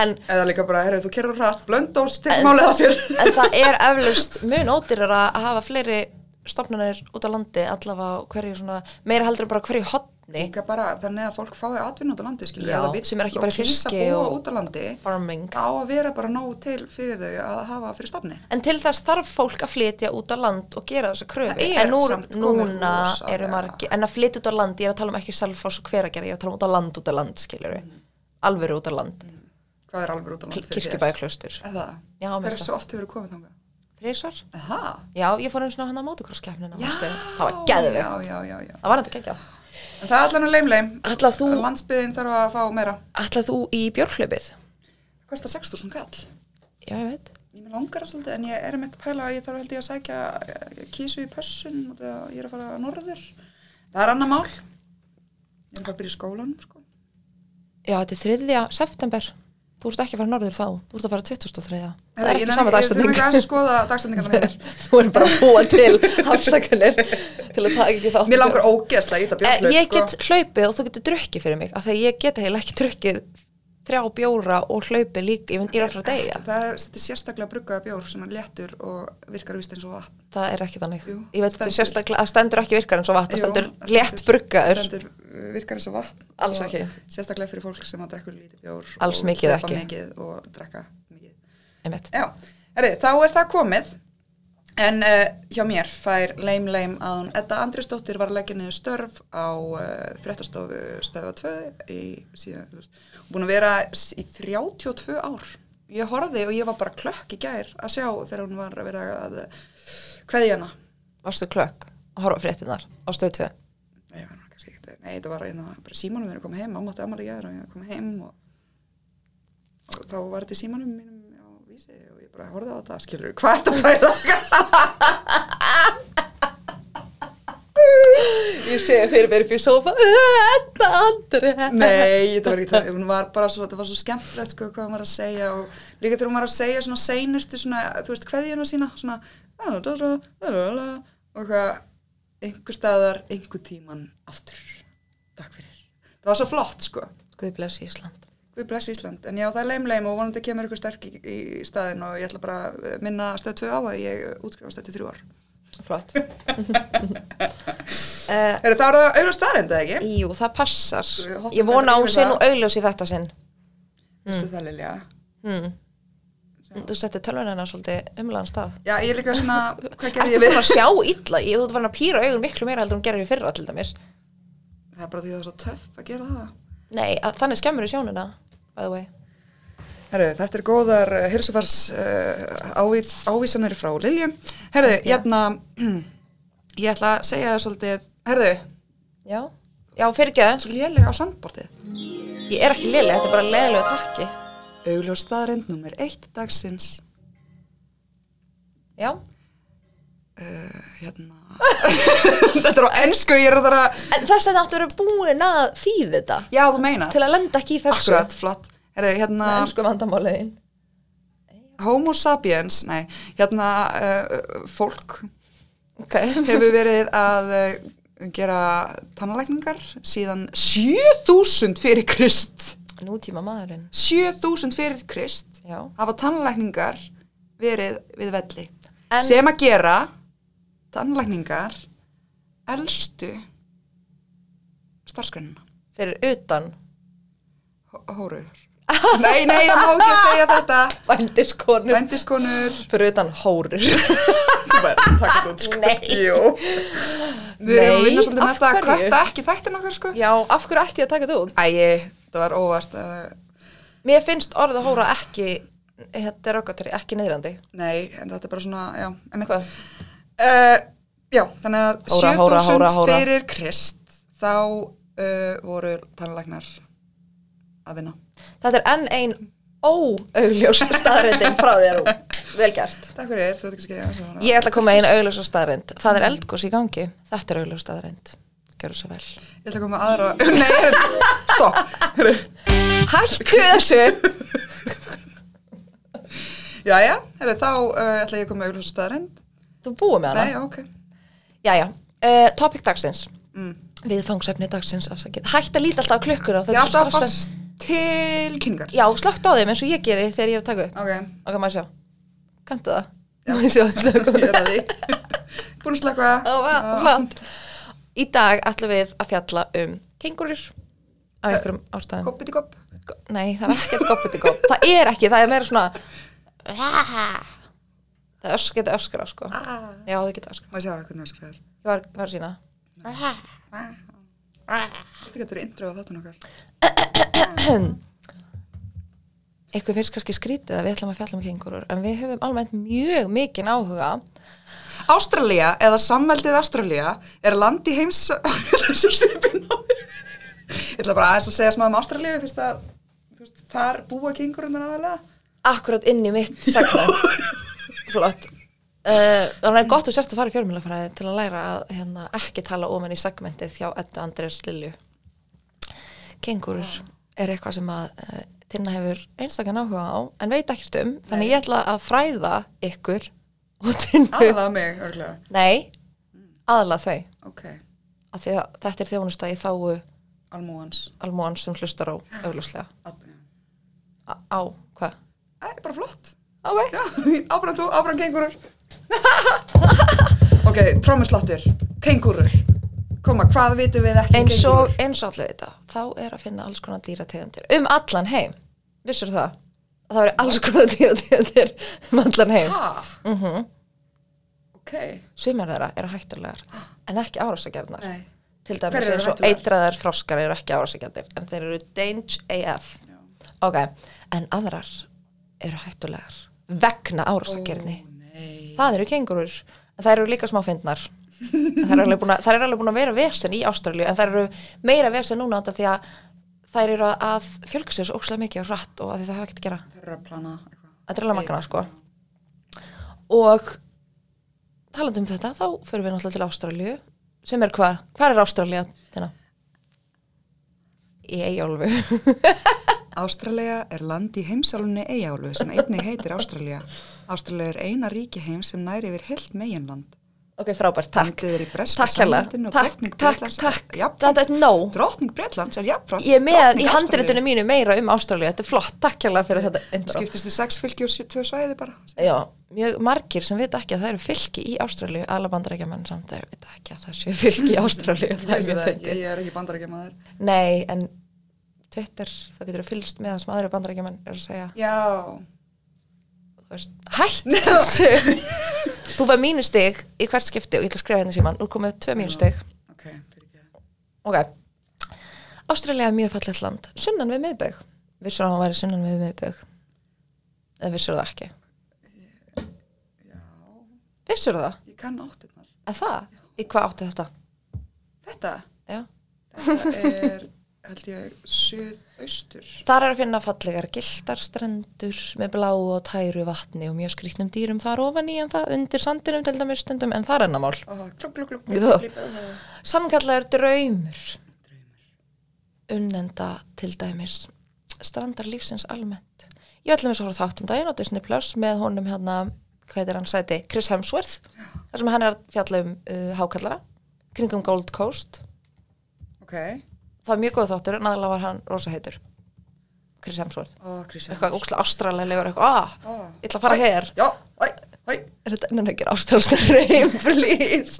Speaker 2: en
Speaker 3: eða líka bara, heru, þú kerur hratt blöndós til
Speaker 2: En-
Speaker 3: málið á sér
Speaker 2: en það er eflaust mun ódýrar að hafa fleiri stofnunir út á landi allavega á hverju svona, meira heldur en bara á hverju hotni
Speaker 3: Líka bara, þannig að fólk fái atvinna út á landi skilur,
Speaker 2: Já,
Speaker 3: eða vill
Speaker 2: sem er ekki bara í
Speaker 3: og kýs að
Speaker 2: fiski
Speaker 3: búa
Speaker 2: og-
Speaker 3: út á landi
Speaker 2: farming.
Speaker 3: á að vera bara nóg til fyrir þau að hafa fyrir stafni
Speaker 2: En til þess þarf fólk að flytja út á land og gera þessa kröfu.
Speaker 3: Það er
Speaker 2: en nú,
Speaker 3: samt komið
Speaker 2: núna
Speaker 3: rosalega.
Speaker 2: eru margir, en að flytja út á land, ég er að tala um ekki selffoss og hver að gera, ég er að tala um út á land, út á land, skiljur við. Alvöru út á land,
Speaker 3: hvað er alveg Mm. út á landi fyrir þér?
Speaker 2: kirkjubæklaustur.
Speaker 3: Er það?
Speaker 2: Já, mér
Speaker 3: Hversu
Speaker 2: finnst
Speaker 3: oft hefur þú komið þangað?
Speaker 2: Þrísvar?
Speaker 3: Aha.
Speaker 2: Já, ég fór einu svona hann að mótukrosskeppnina. Það var geðvegt.
Speaker 3: Já, já, já, já.
Speaker 2: Það var þetta geggjað.
Speaker 3: En það er allan um að leim-leim.
Speaker 2: Ætlar þú-
Speaker 3: Landsbyðin þarf að fá meira.
Speaker 2: Ætlað þú í björnhlaupið?
Speaker 3: Kosta 6.000 kall.
Speaker 2: Já, ég veit.
Speaker 3: Ég með langar það svolítið, en ég er meitt að pæla að ég þarf held ég að sækja eh, kísu í pössun og það ég er að fara norður. Það er annað mál. Ég er að fara að byrja í skólanum, sko.
Speaker 2: Já, þetta er 3. september. Þú ert ekki að fara norður þá. Þú ert að fara 2003. Það
Speaker 3: Herra,
Speaker 2: er
Speaker 3: ég
Speaker 2: ekki
Speaker 3: nenni-
Speaker 2: sama
Speaker 3: Ég þurfum
Speaker 2: dagsetning.
Speaker 3: ekki aðeins að skoða dagstendingarna hér.
Speaker 2: Þú er bara að búa til afsakanir til að taka ekki þátt.
Speaker 3: Mér langar ógeðslega sko. í þetta
Speaker 2: Eh,
Speaker 3: björnlaug,
Speaker 2: Ég get hlaupið og þú getur drukkið fyrir mig. Af því að ég get heila ekki drukkið þrjá bjóra og hlaupið líka. Ég mynd, ég er að fara að deyja.
Speaker 3: Það er, þetta er sérstaklega bruggaða bjór sem er léttur og virkar vist eins og vatn.
Speaker 2: Það er ekki þannig.
Speaker 3: Jú,
Speaker 2: ég veit að þetta er
Speaker 3: stendur.
Speaker 2: sérstaklega, að stendur ekki virkar eins og vatn. Það
Speaker 3: Jú,
Speaker 2: stendur
Speaker 3: það
Speaker 2: létt
Speaker 3: stendur-
Speaker 2: bruggaður.
Speaker 3: stendur, uh, virkar eins og vatn
Speaker 2: Alls
Speaker 3: og
Speaker 2: ekki.
Speaker 3: sérstaklega fyrir fólk sem að drekka lítið bjór
Speaker 2: Alls
Speaker 3: og
Speaker 2: mikið
Speaker 3: hlaupa
Speaker 2: ekki.
Speaker 3: mikið og drekka mikið
Speaker 2: Einmitt.
Speaker 3: já, herri, þá er það komið en uh, hjá mér fær leim leim að hún Edda Andrisdóttir var að leggja niður störf á uh, fréttastofu stöða 2 í síðan, þú veist, hún er búin að vera s- í 32 ár ég horfði og ég var bara klökk í gær að sjá þegar hún var að vera að kveðja hana
Speaker 2: Varstu klökk að horfa á fréttinnar á stöð 2?
Speaker 3: Nei, ég var nú kannski ekki, nei, þetta var einna, bara símanum þegar ég kom heim, mamma átti ammali í gær og ég kom heim og, og þá var þetta í símanum mínum á vísi og ég bara horfði á þetta, skilur, hvað er þetta að pæla?
Speaker 2: Ég sé fyrir mér upp í sofa Þetta þetta andri
Speaker 3: Nei, þetta var ekki það, hún var bara svo, þetta var svo skemmtilegt sko hvað hún var að segja og líka þegar hún var að segja svona seinustu svona, þú veist, kveðjuna sína, svona dadadada, dadadada, og hvað, einhver staðar, einhver tíman aftur, takk fyrir. Það var svo flott sko,
Speaker 2: Guð bless Ísland
Speaker 3: við bless Ísland, en já það er leim-leim og vonandi kemur ykkur sterk í, í staðin og ég ætla bara að eh, minna stöð 2 á að ég útskrifast þetta í þrjú ár.
Speaker 2: Flott uh,
Speaker 3: Er þetta árað auðvitað staðrenda ekki?
Speaker 2: Jú, það passar
Speaker 3: Við hoppum
Speaker 2: Ég vona
Speaker 3: hérna
Speaker 2: að
Speaker 3: yfir
Speaker 2: hún sé
Speaker 3: það.
Speaker 2: nú augljós í þetta sinn
Speaker 3: Vistu það Lilja?
Speaker 2: mm. Þú setti tölvunina svolítið umlaðan stað
Speaker 3: Já, ég er líka svona, hvað gerði
Speaker 2: Ertu
Speaker 3: ég við?
Speaker 2: fyrir að sjá illa, ég, þú ert farin að pýra augun miklu meira heldur en hún gerir í fyrra til dæmis
Speaker 3: Það er bara því það er svo töff að gera það.
Speaker 2: Nei, að, þannig skemmur í sjónuna by the way
Speaker 3: Herru, þetta er góðar uh, hilsufars uh, ávít, ávísanir frá Lilju. Herru, hérna, ég ætla að segja það svolítið, herru,
Speaker 2: Já, Já fyrirgeðu,
Speaker 3: svo lélega á sandbortið.
Speaker 2: ég er ekki lili, þetta er bara leðilegu takki
Speaker 3: Augljós staðarind nummer eitt dagsins,
Speaker 2: Já,
Speaker 3: hérna. þetta er á ennsku, ég er að það að,
Speaker 2: en þess að þetta áttu að vera búin að þýði þetta
Speaker 3: já þú meina,
Speaker 2: til að lenda ekki í þessu
Speaker 3: akkurat, flott. Herru, hérna,
Speaker 2: með ennsku vandamáliðin
Speaker 3: homo sapiens, nei, hérna, uh, fólk
Speaker 2: okay.
Speaker 3: hefur verið að uh, gera tannlækningar síðan 7000 fyrir krist.
Speaker 2: Nútíma maðurinn
Speaker 3: 7000 fyrir krist
Speaker 2: Já.
Speaker 3: hafa tannlækningar verið við velli
Speaker 2: En-
Speaker 3: sem að gera tannlækningar elstu starfsgrunna
Speaker 2: fyrir utan
Speaker 3: hóruður nei, nei, ég má ekki segja þetta
Speaker 2: vændiskonur
Speaker 3: vendiskonur
Speaker 2: fyrir utan hórur Nei.
Speaker 3: sko. við erum að
Speaker 2: Nei,
Speaker 3: vinna svolítið
Speaker 2: af
Speaker 3: með það að
Speaker 2: hverju?
Speaker 3: kvarta ekki þættin okkar sko
Speaker 2: Já, af hverju ætti ég að taka þetta út?
Speaker 3: æi, það var óvart uh,
Speaker 2: Mér finnst orða hóra ekki þetta er okkar ekki neyðrandi
Speaker 3: nei, en þetta er bara svona já, einmitt.
Speaker 2: Hvað?
Speaker 3: uh, já, þannig að
Speaker 2: Hóra, hóra, hóra,
Speaker 3: 7000
Speaker 2: hóra.
Speaker 3: fyrir krist þá uh, voru tannlæknar að vinna
Speaker 2: Þetta er enn ein óaugljós staðrindin frá þér Rún. vel gert
Speaker 3: Takk fyrir, þú veit ekki skilja þessu
Speaker 2: Ég ætla að koma einu augljósa staðrind Það er eldgós í gangi, þetta er augljós staðrind Gjörðu svo vel
Speaker 3: Ég ætla að koma með aðra Nei, stopp
Speaker 2: Hættu þessu
Speaker 3: Jæja, heyrðu, þá uh, ætla ég að koma með augljósa staðarind
Speaker 2: Þú búið með
Speaker 3: Nei,
Speaker 2: hana
Speaker 3: já, ok
Speaker 2: Jæja, uh, topic dagsins
Speaker 3: mm.
Speaker 2: Við þangsefni dagsins afsakið Hætt að líta alltaf á klukkur á
Speaker 3: Ég
Speaker 2: þetta
Speaker 3: ætla
Speaker 2: er
Speaker 3: að
Speaker 2: svo stressandi.
Speaker 3: fast til kynningar
Speaker 2: Já, slögt á þeim eins og ég geri þegar ég er að taka upp
Speaker 3: Ok,
Speaker 2: Ok, maður sjá Kanntu það? Maður sjá, slögt á
Speaker 3: ég er
Speaker 2: þeim
Speaker 3: að því Búin að slaka
Speaker 2: Flant Í dag ætlum við að fjalla um kengurur Af einhverjum ástæðum
Speaker 3: Koppið í kopp
Speaker 2: Go- Nei, það er ekkert goppitikopp Það er ekki, það er meira svona Það ösk, geta öskra sko
Speaker 3: Má
Speaker 2: Já, það geta öskra
Speaker 3: ég sjá hvernig það skrifar
Speaker 2: Ég var, var sína
Speaker 3: Þetta getur intro á þáttan okkar
Speaker 2: Eitthvað finnst kannski skrítið að við ætlum að fjalla um kengurur En við höfum almennt mjög mikinn áhuga
Speaker 3: Ástralía eða samveldið Ástralía er land í heims þessu svipin á þér. Ég ætla bara aðeins að segja smá um Ástralíu fyrst að þú veist, þar búa kengurunar aðalega
Speaker 2: Akkurat inn í mitt segna Flott Uh, þannig er gott og sért að fara í fjölmjölafræði til að læra að hérna, ekki tala ofan í segmentið hjá Eddu Andrés Lilju Kengurur er eitthvað sem að uh, Tinna hefur einstakann áhuga á en veit ekkert um, þannig ég ætla að fræða ykkur og Tinnu
Speaker 3: aðalega mig, örglega
Speaker 2: Nei, aðla þau
Speaker 3: ok,
Speaker 2: af því að þetta er þjónusta í þáu
Speaker 3: almúans
Speaker 2: almóan sem hlustar á auglúslega
Speaker 3: það
Speaker 2: á hvað?
Speaker 3: er bara flott
Speaker 2: Ok,
Speaker 3: Já, áfram þú, áfram kengurur ok, trómusláttur kengurur koma, hvað vitum við ekki um
Speaker 2: eins og,
Speaker 3: kengúrur?
Speaker 2: eins og allir vita þá er að finna alls konar dýrategundir um allan heim, vissur það að það veri alls konar dýrategundir um allan heim
Speaker 3: ha,
Speaker 2: mm
Speaker 3: ok
Speaker 2: sumar þeirra eru hættulegar en ekki árásagjarnar
Speaker 3: nei,
Speaker 2: til
Speaker 3: Hverjar
Speaker 2: dæmis
Speaker 3: eru
Speaker 2: eins og
Speaker 3: hættulegar?
Speaker 2: eitraðar froskar eru ekki árásagjarnir en þeir eru Dange AF
Speaker 3: Já.
Speaker 2: ok, en aðrar eru hættulegar vegna árásagjarni
Speaker 3: nei
Speaker 2: það eru kengurur en það eru líka smáfindnar það eru alveg búin að, þær eru alveg búin að vera vesen í Ástralju en það eru meira vesen núna þetta því að þær eru að fjölga sér svo ókslega mikið og rætt og að því það hafa ekkert að gera
Speaker 3: það eru að plana eitthvað
Speaker 2: þetta er alveg magna sko og talandi um þetta þá förum við náttúrulega til Ástralju sem er hvað? Hvað er Ástralja? Þina? í eigálfu
Speaker 3: Ástralja er land í heimsálunni Eyjálfu sem einnig heitir Ástralja. Ástralja er eina ríki heims sem næri yfir heilt meginland.
Speaker 2: ok, frábært, takk
Speaker 3: Landið er í breska
Speaker 2: takk hella,
Speaker 3: samlandinu og
Speaker 2: takk,
Speaker 3: drottning
Speaker 2: takk,
Speaker 3: Bretlands-
Speaker 2: takk
Speaker 3: Jafnframt-
Speaker 2: þetta er nóg
Speaker 3: Drottning Breitlands er jafnframt.
Speaker 2: ég er með í
Speaker 3: drottning
Speaker 2: handritunum
Speaker 3: Ástralíu.
Speaker 2: mínu meira um Ástralíu, þetta er flott, takk hella fyrir þetta intro.
Speaker 3: Skiptist í sex fylgi og sjö- tvö svæði bara.
Speaker 2: já, mjög margir sem vita ekki að það eru fylki í Ástralíu, alla bandarækjaman samt þeir vita ekki að það séu fylki í Ástralíu það er mjög fyndið.
Speaker 3: er ekki bandarækjamaður.
Speaker 2: nei, en Twitter, þá getur þú fylgst með það sem aðri bandarækjaman er að segja
Speaker 3: Já,
Speaker 2: þú veist, hætt þessu þú var mínustig í hvert skipti og ég ætla að skrifa hérna síman, nú komið tvö mínustig
Speaker 3: ok. fyrir ekki.
Speaker 2: ok Ástralja er mjög fallegt land, sunnan við miðbögg vissur að hann væri sunnan við miðbögg eða vissur það ekki
Speaker 3: Já,
Speaker 2: vissur það,
Speaker 3: ég kann áttirnar.
Speaker 2: eða það í hvað átti þetta
Speaker 3: Þetta,
Speaker 2: Já.
Speaker 3: þetta er, held ég, suðaustur.
Speaker 2: þar er að finna fallegar giltar strendur með bláu og tæru vatni og mjög skrýtnum dýrum þar ofan í en það undir sandinum til dæmis stundum en það er ennamál
Speaker 3: Oh, glug, glug, glug,
Speaker 2: Já.
Speaker 3: glug, glug, glug.
Speaker 2: Sannkallaður draumur Unnenda til dæmis Strandar lífsins almennt Ég ætlum þess að horfa á þátt um daginn á Disney Plus með honum hérna, hvað heitir hann sæti Chris Hemsworth, þar sem hann er að fjalla um uh, hákallara, kringum Gold Coast
Speaker 3: Ok.
Speaker 2: Það var mjög góð þáttur en aðalega var hann rosa heitur Chris Hemsworth
Speaker 3: Ó, Kristján.
Speaker 2: eitthvað ókslega ástralegur eitthvað, ah,
Speaker 3: Ó.
Speaker 2: ég ætla að fara hér
Speaker 3: Já, æ, æ.
Speaker 2: er þetta ennum ekki ástralska reym, please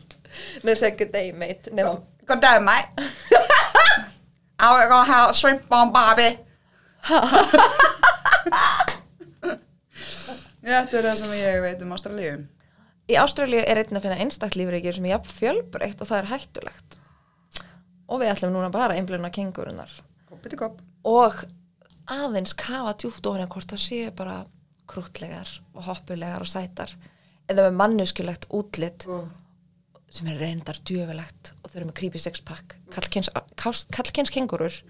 Speaker 2: Nei, segja day mate nema,
Speaker 3: Góð dag, mæ. Á, ég góð að hafa shrimp on Bobby. Þetta er það sem ég veit um Ástralíu.
Speaker 2: Í Ástralíu er einn að finna einstakt lífreikir sem er jafn fjölbreytt og það er hættulegt. Og við ætlum núna bara að einbluna kengurunar.
Speaker 3: Kopp, bitti kopp.
Speaker 2: Og aðeins kafa djúft ofan en hvort það séu bara krútlegar og hoppulegar og sætar. Eða með mannuskilegt útlit
Speaker 3: Ó,
Speaker 2: sem er reyndar djöfulegt og þau eru með creepy sexpack. Kallkyns, kás- kallkyns kengurur.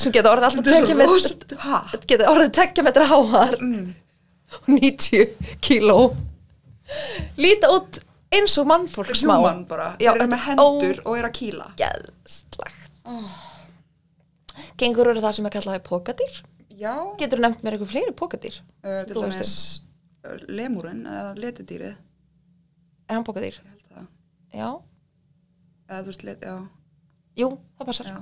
Speaker 2: sem geta orðið alltaf
Speaker 3: Þetta er
Speaker 2: tekja
Speaker 3: svo
Speaker 2: með...
Speaker 3: rosa- Ha?
Speaker 2: Geta orðið tekja metra háar
Speaker 3: Mm.
Speaker 2: og 90 kíló. Líta út eins og mannfólk smá.
Speaker 3: Hjúman bara.
Speaker 2: Já,
Speaker 3: Þeir eru með
Speaker 2: þetta er
Speaker 3: hendur og eru að kýla.
Speaker 2: ógeðslagt.
Speaker 3: Ah.
Speaker 2: Gengur eru það sem er kallaði pokadýr.
Speaker 3: Já, uh,
Speaker 2: Getur nefnt mér eitthvað fleiri pokadýr?
Speaker 3: til
Speaker 2: Þú veist
Speaker 3: dæmis uh, lemurinn eða letidýrið.
Speaker 2: Er hann pokadýr?
Speaker 3: Ég held það.
Speaker 2: Já.
Speaker 3: Eða þú veist, let, já,
Speaker 2: Jú, það passar.
Speaker 3: já.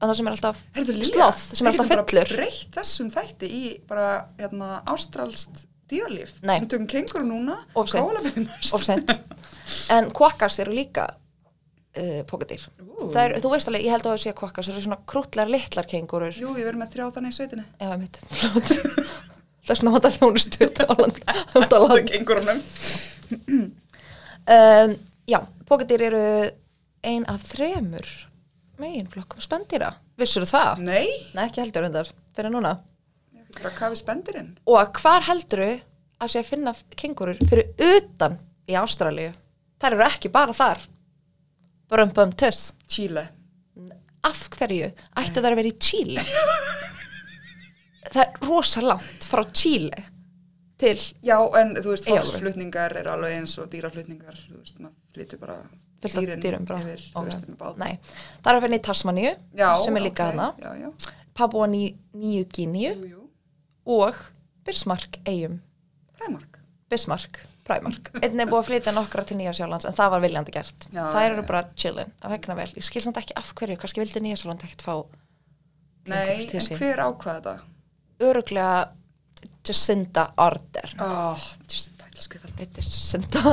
Speaker 2: En það sem er alltaf
Speaker 3: Heyrðu, Lilja,
Speaker 2: sloth, sem er
Speaker 3: við
Speaker 2: alltaf
Speaker 3: getum bara
Speaker 2: fullur.
Speaker 3: breytt þessum þætti í bara hérna, ástralst dýralíf
Speaker 2: Nei.
Speaker 3: við tökum kengur núna
Speaker 2: Of seint.
Speaker 3: kólabyrði næst
Speaker 2: Of sent. En kvakkas eru líka uh, pokadýr.
Speaker 3: Ú.
Speaker 2: Það eru, þú veist alveg, ég held að það sé að kvakkas eru svona krútlar litlar kengurur.
Speaker 3: jú, við verðum með þrjá þannig í sveitinni
Speaker 2: Já, ég mitt, flott. Það er svona vant að þjónustu út á land. Út á land.
Speaker 3: kengurunum
Speaker 2: um, já, pokadýr eru ein af þremur meginflokkum spendýra vissur það?
Speaker 3: nei,
Speaker 2: Nei, ekki heldur endar, fyrir núna
Speaker 3: Ég fekk bara kafi spendirinn
Speaker 2: og hvar heldur að sé að finna kengurur fyrir utan í Ástralíu þær eru ekki bara þar brum bum tuss
Speaker 3: Chile
Speaker 2: af hverju ættu þær að vera í Chile það er rosa langt frá Chile til
Speaker 3: já, en þú veist,
Speaker 2: Eyjálfur.
Speaker 3: fólksflutningar er alveg eins og dýraflutningar þú veist, maður flyttir bara
Speaker 2: fullt af dýrum bara
Speaker 3: yfir, þú
Speaker 2: Ok.
Speaker 3: veist, með bát
Speaker 2: Nei, það er að finna í Tasmaníu
Speaker 3: já,
Speaker 2: sem er líka
Speaker 3: ok,
Speaker 2: hana
Speaker 3: já, já,
Speaker 2: Papua Ný- Nýju Gíníu
Speaker 3: jú, jú,
Speaker 2: og Bismarck eigum
Speaker 3: præmark
Speaker 2: Bismarck, Primark einn er búið að flytja nokkra til Nýja Sjálands en það var viljandi gert
Speaker 3: Já,
Speaker 2: þær
Speaker 3: já,
Speaker 2: eru
Speaker 3: já.
Speaker 2: bara chillin að vegna vel ég skil samt ekki af hverju, kannski vildi Nýja Sjáland ekkert fá
Speaker 3: nei,
Speaker 2: til
Speaker 3: en
Speaker 2: sín.
Speaker 3: hver ákvaða þetta?
Speaker 2: öruglega Jacinda Ardern
Speaker 3: oh, just, það er að skrifa
Speaker 2: Veit, Jacinda.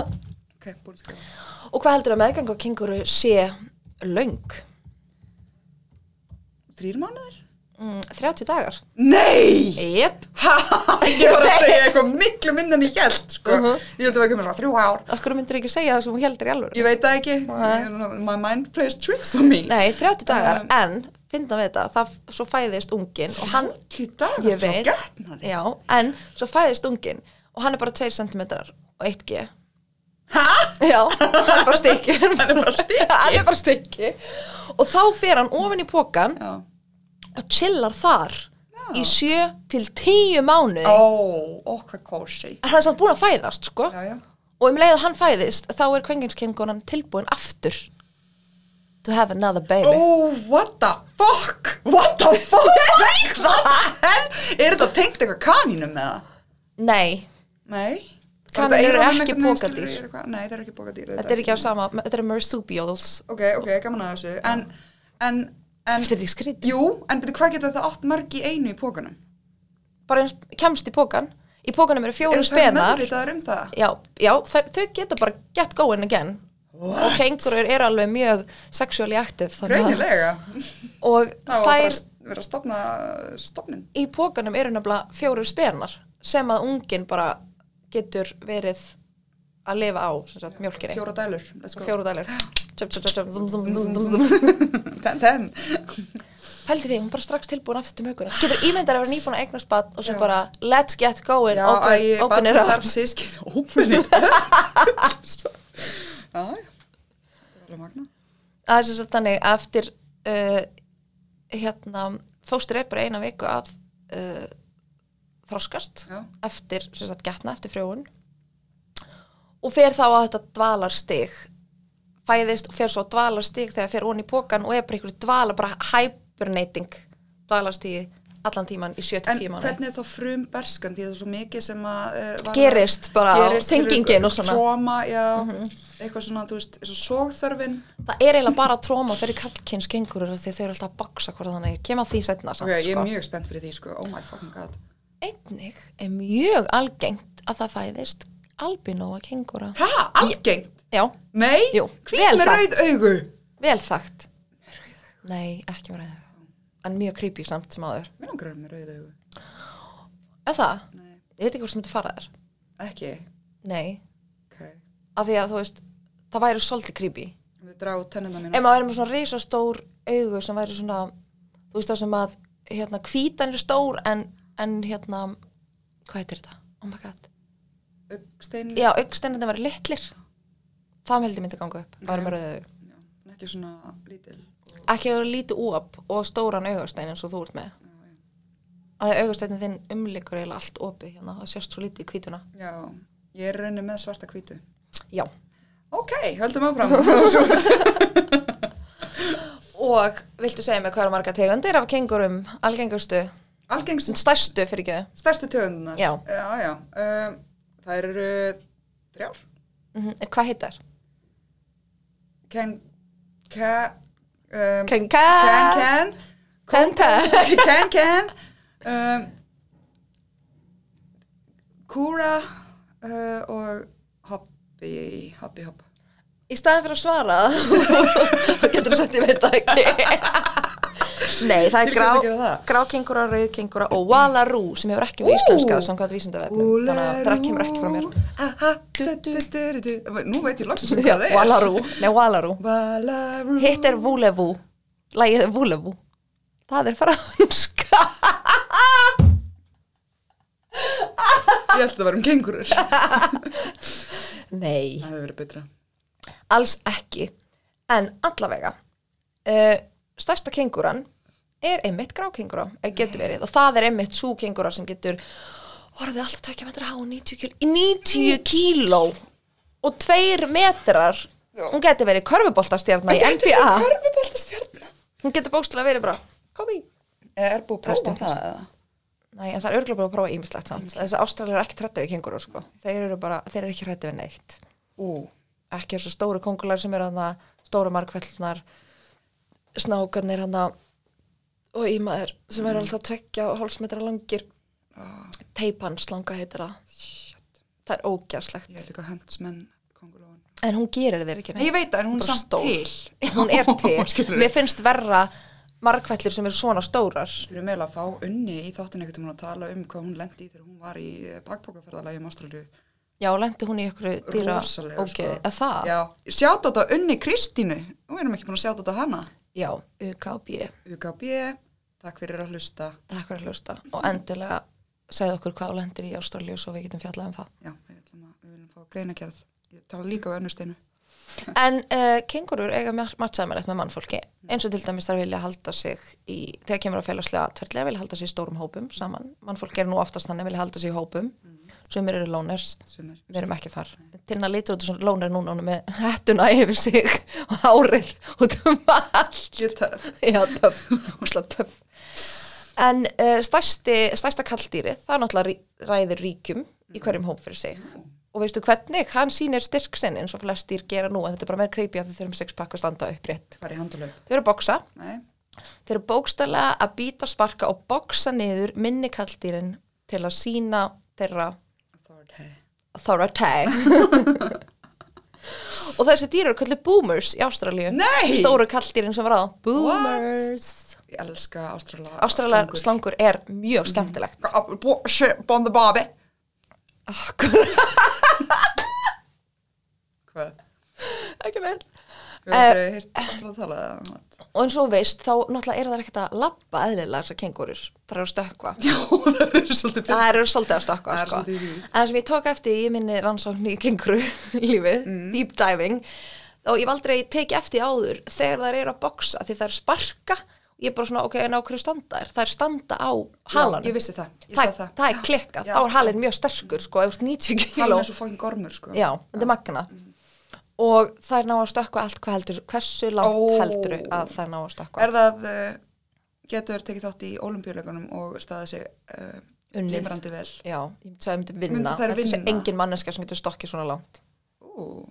Speaker 3: ok, búin að skrifa
Speaker 2: og hvað heldur að meðgang á kenguru sé löng
Speaker 3: þrýr mánuður?
Speaker 2: mm, 30 dagar
Speaker 3: nei!
Speaker 2: yep.
Speaker 3: ég var að segja eitthvað miklu minn en ég held sko.
Speaker 2: Mhm.
Speaker 3: ég held að vera ekki með svona þrjú ár
Speaker 2: okkur myndur ekki segja það sem hún heldur í alveg
Speaker 3: ég veit það ekki, Ég- my mind plays tricks on me
Speaker 2: nei, 30 dagar,
Speaker 3: Um.
Speaker 2: en finna við þetta, það svo fæðist ungin og hann
Speaker 3: dag,
Speaker 2: ég veit,
Speaker 3: getnaði
Speaker 2: já, en svo fæðist ungin og hann er bara 2 cm og 1 g
Speaker 3: hæ?
Speaker 2: já, hann er bara stykki hann
Speaker 3: er bara stykki.
Speaker 2: hann er bara stykki og þá fer hann ofin í pokan
Speaker 3: já
Speaker 2: og chillar þar í 7 til 10 mánu
Speaker 3: ó, ó, hvað kósi
Speaker 2: hann er samt búin að fæðast, sko
Speaker 3: já, já
Speaker 2: og um leið að hann fæðist, þá er kvenginskengunan tilbúin aftur to have another baby
Speaker 3: Oh, what the fuck What the fuck Ég veit það Er þetta tengt eitthvað kanínum með það?
Speaker 2: Nei,
Speaker 3: Nei
Speaker 2: Kanínur
Speaker 3: Var þetta
Speaker 2: eru
Speaker 3: eyrun
Speaker 2: ekki
Speaker 3: einhvern veginn,
Speaker 2: pokadýr.
Speaker 3: skilur, eitthvað? Nei, þetta er ekki bókadýr
Speaker 2: þetta er ekki á sama Þetta er marsupials
Speaker 3: Ok, ok, gaman að þessu En, en, en
Speaker 2: Þetta er ekki skrítið
Speaker 3: Jú, en betur hvað geta það átt mörg í einu í pókanum?
Speaker 2: Bara eins kemst í pókan Í pókanum eru fjóru
Speaker 3: Eru þær
Speaker 2: spenar
Speaker 3: meðvitaðar um það?
Speaker 2: Já, já þær, þau geta bara get going again What? Og kengurir eru alveg mjög sexually active þannig að-
Speaker 3: Greinilega
Speaker 2: Og
Speaker 3: Það var bara
Speaker 2: þær
Speaker 3: að vera að stopna stopnin
Speaker 2: í pókanum eru nefnilega fjóru spenar sem að ungin bara getur verið að lifa á sem sagt, mjólkinni,
Speaker 3: Fjóra dælur, let's go
Speaker 2: fjóru dælir tjöp, tjöp, tjöp, zum, zum, zum, zum, zum.
Speaker 3: Ten, ten
Speaker 2: pældi því, hún er bara strax tilbúin aftur til möguna getur ímyndar að vera nýbúin að eignast bat og sem
Speaker 3: Já.
Speaker 2: bara let's get going,
Speaker 3: Já,
Speaker 2: open,
Speaker 3: æ,
Speaker 2: open it
Speaker 3: barnið
Speaker 2: up
Speaker 3: þarf sískin Open it up Svo- Já, já Það er alveg magna
Speaker 2: það er sem sagt þannig að eftir uh, hérna fóstur er bara eina viku að uh, þroskast
Speaker 3: Já.
Speaker 2: eftir, sem sagt, getna eftir frjóun og fer þá að þetta dvalarstig fæðist og fer svo á dvalarstig þegar fer hún í pókan og er bara einhverju dvala, bara hibernating dvalarstigi allan tíman í 70
Speaker 3: En
Speaker 2: tíman
Speaker 3: hvernig er þá frum berskan því það er svo mikið sem að er, var-
Speaker 2: Gerist bara á
Speaker 3: skilur,
Speaker 2: tengingin og svona. Mhm.
Speaker 3: Trauma, já, eitthvað svona, þú veist, svo sógþörfin
Speaker 2: það er eiginlega bara tróma fyrir kallkynns kengurur því að þau eru alltaf að baksa hvort þannig kem að því setna samt,
Speaker 3: Ok, ég er
Speaker 2: sko.
Speaker 3: mjög spennt fyrir því, sko, oh my fucking god
Speaker 2: einnig er mjög algengt að það fæðist albinóa kengúra
Speaker 3: Hæ, algengt?
Speaker 2: já,
Speaker 3: Nei,
Speaker 2: Jú,
Speaker 3: hvít
Speaker 2: vel
Speaker 3: með
Speaker 2: það.
Speaker 3: rauð augu
Speaker 2: vel þakkt nei, ekki með ræðu en mjög creepy samt sem áður
Speaker 3: Mér langar að vera með rauð augu
Speaker 2: er það?
Speaker 3: Nei,
Speaker 2: ég veit ekki hvort sem þetta fara þér
Speaker 3: ekki,
Speaker 2: nei,
Speaker 3: ok
Speaker 2: af því að þú veist það væri svolítið creepy
Speaker 3: Við drá tennina mína
Speaker 2: ef maður væri með svona risastór augu sem væri svona þú veist það sem að hérna hvítan er stór en, en hérna hvað heitir þetta? oh my god
Speaker 3: Augstein
Speaker 2: já, augstennandi væri litlir það með heldur myndi ganga upp það væri með rauðu augu
Speaker 3: Já, en ekki svona lítil
Speaker 2: ekki að vera lítið úap og stóran augastein eins og þú ert með að augasteinin þinn umlikur eiginlega allt opið hérna, það sést svo lítið í kvítuna
Speaker 3: Já, ég er raunin með svarta hvítu
Speaker 2: já,
Speaker 3: Ok, höldum áfram
Speaker 2: og viltu segja mig hvað eru marga tegundir af kengurum algengustu,
Speaker 3: Algengst
Speaker 2: stærstu fyrir ekki þau
Speaker 3: Stærstu tegundunar?
Speaker 2: Já.
Speaker 3: Já, já. Um, það eru þrjár.
Speaker 2: mm -hmm. hvað heitar?
Speaker 3: Ken, ke, um,
Speaker 2: Ken
Speaker 3: ken,
Speaker 2: Ken Ken
Speaker 3: ken, ken, ken, um, kúra uh, og hoppi, hoppi, hopp.
Speaker 2: í staðan fyrir að svara þá getur þú sagt ég veit það ekki nei, það er
Speaker 3: Til hvers
Speaker 2: grá,
Speaker 3: að gera það?
Speaker 2: grá kengura, rauð kengura og walarú sem hefur ekki verið
Speaker 3: Ú!
Speaker 2: íslenskað samkvæmt vísindavefnum þannig að það kemur ekki frá mér
Speaker 3: Ha, Ah, ha, du, du, du, du, du. Nú veit ég loksins um hvað það er.
Speaker 2: Walarú, nei Walarú
Speaker 3: Valarú.
Speaker 2: Hitt er Vúlevú Lægið er Vúlevú Það er franska
Speaker 3: Ég held að það var um kengurur. það
Speaker 2: Nei
Speaker 3: hefur verið betra.
Speaker 2: Alls ekki En allavega uh, Stærsta kengúran er einmitt grákengúra eða getur verið og það er einmitt svo kengúra sem getur orðið alltaf 2 metra há og 90 kíló 90 kíló og 2 metrar
Speaker 3: Já.
Speaker 2: hún getur verið körfuboltastjarnar í NBA
Speaker 3: Körfubolta stjarnar.
Speaker 2: hún getur bókstulega verið bara komi
Speaker 3: Er búið að
Speaker 2: Rest in
Speaker 3: prófa það eða?
Speaker 2: Nei, en það er örgulega bara að prófa ímislegt samt. Þessi ástralir eru ekki hrættu við kengurur, sko. Þeir eru bara, þeir eru ekki hrættu við neitt.
Speaker 3: Ú,
Speaker 2: Ekki þessu stóru kongular sem eru hann að stóru markvellunar, snákarnir hann að, og ímaður sem
Speaker 3: Mm.
Speaker 2: eru alltaf tvekja og hálfsmetra langir. Teipan slanga heitir það.
Speaker 3: shit,
Speaker 2: Það er ógæslegt.
Speaker 3: ég er líka hundsmenn kongulóin.
Speaker 2: En hún gerir þeir ekki
Speaker 3: Nei, ég veit það, en hún
Speaker 2: Bara
Speaker 3: er samt
Speaker 2: stór.
Speaker 3: til.
Speaker 2: Hún er til.
Speaker 3: Skilurðu?
Speaker 2: Mér finnst verra markvellur sem eru svona stórar.
Speaker 3: Þú eru meðlega að fá unni í þáttinu ekkert um að tala um hvað hún lendi í þegar hún var í eh, bakpókaferðalagi um Ástralju.
Speaker 2: Já, lendi hún í ykkur dýra
Speaker 3: Rosalega, sko.
Speaker 2: ógeði. Eða það?
Speaker 3: Já, sjátt á þetta unni Kristínu. Nú erum ekki búin að sjátt á þetta hana.
Speaker 2: Já, UKB.
Speaker 3: UKB, takk fyrir að hlusta.
Speaker 2: Takk fyrir að hlusta og endilega segð okkur hvað þú lendir í Ástralíu svo við getum fjallað um það.
Speaker 3: Já, við ætlum að, við viljum fá greinagerð. Ég tala líka á önnusteinu.
Speaker 2: En uh, kengurur eiga mattsæðmælegt með mannfólki eins og til dæmis þær vilja halda sig í, þegar kemur að félagslega tverrlega vilja halda sig í stórum hópum saman. Mannfólki er nú oftast þannig vilja halda sig í hópum, sumir eru lóners,
Speaker 3: Sumir.
Speaker 2: við erum ekki þar. til hann að lita út og svona lónar núna honum með hettuna yfir sig og hárið út um allt
Speaker 3: Ég töf.
Speaker 2: já, töf, húsla töf en uh, stærsti, stærsta kalldýrið það náttúrulega rí, ræður ríkjum í hverjum hóp fyrir sig og veistu hvernig, hann sýnir styrk sinn eins og flest dýr gera nú en þetta er bara meira kreipi að þau þurfum sex pakk að standa upprétt
Speaker 3: Bara í handulöp.
Speaker 2: þau eru að boksa,
Speaker 3: Nei.
Speaker 2: þau eru bókstælega að býta sparka og boksa niður minni kalldýrin til að sína þeirra
Speaker 3: Authority.
Speaker 2: authority og þessi dýr eru kallið boomers í Ástralíu
Speaker 3: Nei!
Speaker 2: stóru kalldýrin sem var á boomers
Speaker 3: Ég elska Ástrala.
Speaker 2: Ástralar slangur er
Speaker 3: Mhm.
Speaker 2: mjög skemmtilegt
Speaker 3: Bon the Bobby.
Speaker 2: akkurat,
Speaker 3: Hvað?
Speaker 2: ekki með Eh,
Speaker 3: Við hefum aldrei heyrt Ástrala tala um þetta.
Speaker 2: og eins og þú veist þá náttúrulega eru það ekkert að labba eðlilega þessar kengurur, það eru stökkva
Speaker 3: Já, það er svolítið fyrir.
Speaker 2: það eru svolítið að stökkva
Speaker 3: Það er
Speaker 2: sko.
Speaker 3: svolítið í því.
Speaker 2: en sem ég tók eftir í minni rannsókn í kenguru lífi,
Speaker 3: Mm.
Speaker 2: deep diving og ég hef aldrei tekið eftir því áður þegar þær eru að boksa því þær sparka ég er bara svona, ok, en á hverju standa þær? Þær standa á halanum.
Speaker 3: ég vissi það. Ég
Speaker 2: það,
Speaker 3: sá það.
Speaker 2: það er klikkað,
Speaker 3: Já,
Speaker 2: þá er
Speaker 3: já.
Speaker 2: halinn mjög sterkur, sko, ef þú ert 90 kíló.
Speaker 3: Hann er svo fokkin gormur, sko.
Speaker 2: Já, þetta er magna. Og það er ná að stökkva allt hvað heldur, hversu langt
Speaker 3: Ó.
Speaker 2: heldur að það er ná að stökkva?
Speaker 3: Er það, uh, getur tekið þátt í olimpíuleikunum og staðið sig uh,
Speaker 2: Unnið.
Speaker 3: lífrandi vel?
Speaker 2: Já, ég myndi að myndi vinna.
Speaker 3: Myndu þær
Speaker 2: Þetta sé
Speaker 3: vinna?
Speaker 2: engin manneska sem getur stokkið svona langt.
Speaker 3: Ú,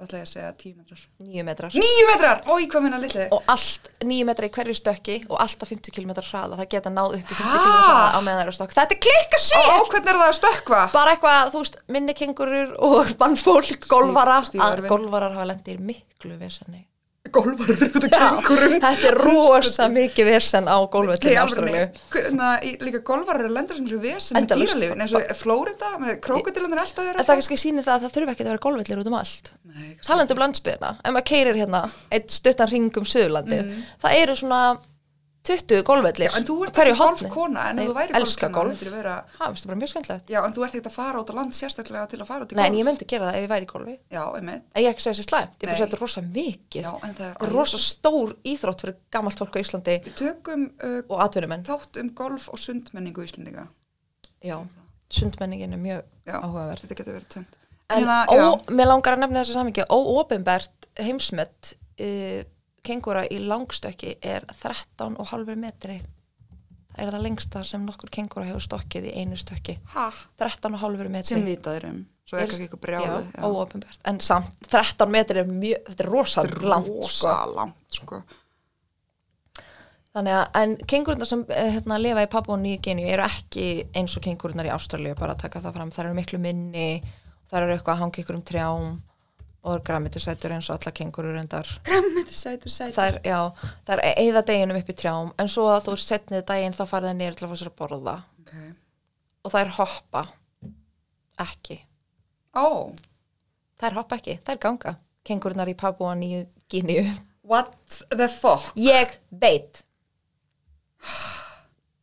Speaker 3: það ætla ég að segja tíu metrar.
Speaker 2: Níu metrar.
Speaker 3: Níu metrar! Ói, hvað minna litli?
Speaker 2: Og allt, níu metrar í hverju stökki og alltaf 50 km hraða. Það geta náð upp í 50
Speaker 3: Ha?
Speaker 2: km hraða á meðan það eru að stokka. Þetta er klikka
Speaker 3: Ó,
Speaker 2: sér!
Speaker 3: ó, hvernig er það að stökkva?
Speaker 2: Bara eitthvað, þú veist, minni kengurur og mannfólk, golvara,
Speaker 3: stíf
Speaker 2: að
Speaker 3: örvin.
Speaker 2: golvarar hafa lendir miklu vesenni.
Speaker 3: Golvar eru þetta kengurinn.
Speaker 2: Þetta er rosa mikið vesen á gólvöldinu í Ástralíu.
Speaker 3: Líka golvar eru lendur sem eru vesen með
Speaker 2: Endalaust. sko.
Speaker 3: dýralífin, eins og Flórida með krokodilunir alltaf
Speaker 2: En
Speaker 3: þeirra.
Speaker 2: það kannski sýnir það að það þurfi ekki að vera gólvöllir út um allt.
Speaker 3: Nei, ekki
Speaker 2: Talandi um landsbyðina, ef maður keirir hérna eitt stuttan ring um Suðurlandið, það eru svona 20 gólvöllir.
Speaker 3: Mm. En þú ert
Speaker 2: hverju
Speaker 3: ekki
Speaker 2: horni.
Speaker 3: golfkona, en ef
Speaker 2: Nei,
Speaker 3: þú væri
Speaker 2: elska
Speaker 3: golfkona,
Speaker 2: golf.
Speaker 3: myndir vera,
Speaker 2: Ha, finnst það bara mjög skemmtilegt.
Speaker 3: já, en þú ert ekkert að fara út á land sérstaklega til að fara út í
Speaker 2: Nei,
Speaker 3: golf.
Speaker 2: en ég myndi gera það ef ég væri í golfi.
Speaker 3: Já, einmitt.
Speaker 2: En ég er ekki að segja þessi slæmt, ég er bara að
Speaker 3: Nei.
Speaker 2: segja þetta er rosa mikið.
Speaker 3: Já, en það er
Speaker 2: Og
Speaker 3: alveg-
Speaker 2: rosa stór íþrótt fyrir gamalt fólk á Íslandi
Speaker 3: Við tökum uh,
Speaker 2: og atvinnumenn.
Speaker 3: þátt um golf og sundmenningu Íslendinga.
Speaker 2: Já, sundmenningin er mjög
Speaker 3: Já,
Speaker 2: áhugaverð.
Speaker 3: Þetta getur verið tönd.
Speaker 2: En ó,
Speaker 3: Hérna, já.
Speaker 2: mér langar að nefna þessu samingi, óopinbært heimsmet uh, kengúra í langstökki er 13,5 metri. Það er það lengsta sem nokkur kengúra hefur stokkið í einu stökki.
Speaker 3: Ha,
Speaker 2: 13,5 metri.
Speaker 3: sem vitaður um. Svo er kannski eitthvað brjálu.
Speaker 2: Já, óopinbært. En samt, 13 metri er mjög, þetta er rosa langt, sko.
Speaker 3: Rosa langt, sko.
Speaker 2: Þannig að, en kengúrunar sem eh, hérna, lifa í Papua Nýju Geniu eru ekki eins og kengúrunar í Ástralíu, bara að taka það fram, þær eru miklu minni, þær eru eitthvað að hanga ykkur um trjám og grammitisætur eins og alla kengúrur endar.
Speaker 3: Græmmiti sætur sætur.
Speaker 2: Þær, já, þær eigða deginum upp í trjám, en svo að þú setnið daginn þá farið þær niður til að fá sér að borða
Speaker 3: Okay.
Speaker 2: og þær hoppa ekki.
Speaker 3: Ó,
Speaker 2: Þær hoppa ekki, þær ganga, kengúrunar í Papua Nýju Geniu.
Speaker 3: what the fuck?
Speaker 2: Ég veit.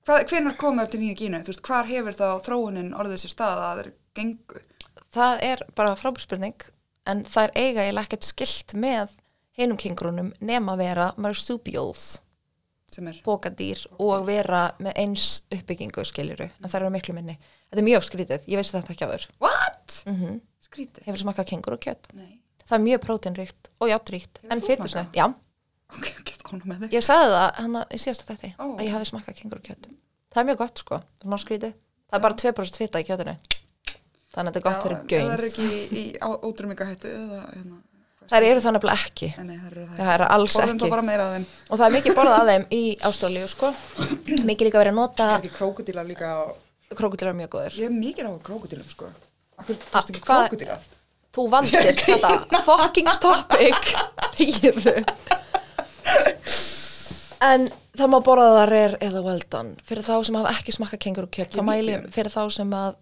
Speaker 3: Hvað, hvenær komið upp til nýju gínu? Þú veist, hvar hefur þá þróunin orðið sér stað að það er gengu?
Speaker 2: það er bara frábúrspurning en það er eiga eiginlega ekkert skilt með hinum kengurunum nema vera marsupials,
Speaker 3: Sem er,
Speaker 2: bókadýr og vera með eins uppbyggingu skiljuru en það eru miklu minni. Þetta er mjög skrítið, ég veist þetta ekki áður.
Speaker 3: what? Mm
Speaker 2: Mhm.
Speaker 3: -hmm. Skrítið.
Speaker 2: Hefur smakað kengur og kjött.
Speaker 3: Nei.
Speaker 2: Það er mjög próteinríkt og játríkt en
Speaker 3: þú
Speaker 2: fyrirbúrsnöð, já.
Speaker 3: Ok, get ánum með þig.
Speaker 2: Ég sagði það hann í síðasta þetta
Speaker 3: Ó.
Speaker 2: að ég hafi smakað kengur og kjött. Það er mjög gott sko, það er ná skrítið. Það er bara 2% fita í kjötinu. Þannig að þetta er gott fyrir
Speaker 3: Það er
Speaker 2: göins.
Speaker 3: ekki í, í ótrumingahættu eða, hérna,
Speaker 2: Það eru þannig að ekki.
Speaker 3: en nei, það eru það.
Speaker 2: Það er alls
Speaker 3: Borðum
Speaker 2: ekki.
Speaker 3: þá bara meira að þeim.
Speaker 2: og það er mikið borðað að þeim í Ástralíu sko mikið líka verið að
Speaker 3: Það
Speaker 2: nota
Speaker 3: er ekki krókudílar líka á...
Speaker 2: krokodílar eru mjög góður
Speaker 3: Ég er mikið á krókudílum, sko. Akkur, þú veist ekki
Speaker 2: Ah, hvað-
Speaker 3: krókudíla?
Speaker 2: þú valdir þetta fucking topic píðu en það má borða það rare eða well done fyrir þá sem hafa ekki smakka kengur og kjött þá
Speaker 3: Ég
Speaker 2: mæli ég
Speaker 3: medium.
Speaker 2: fyrir þá sem að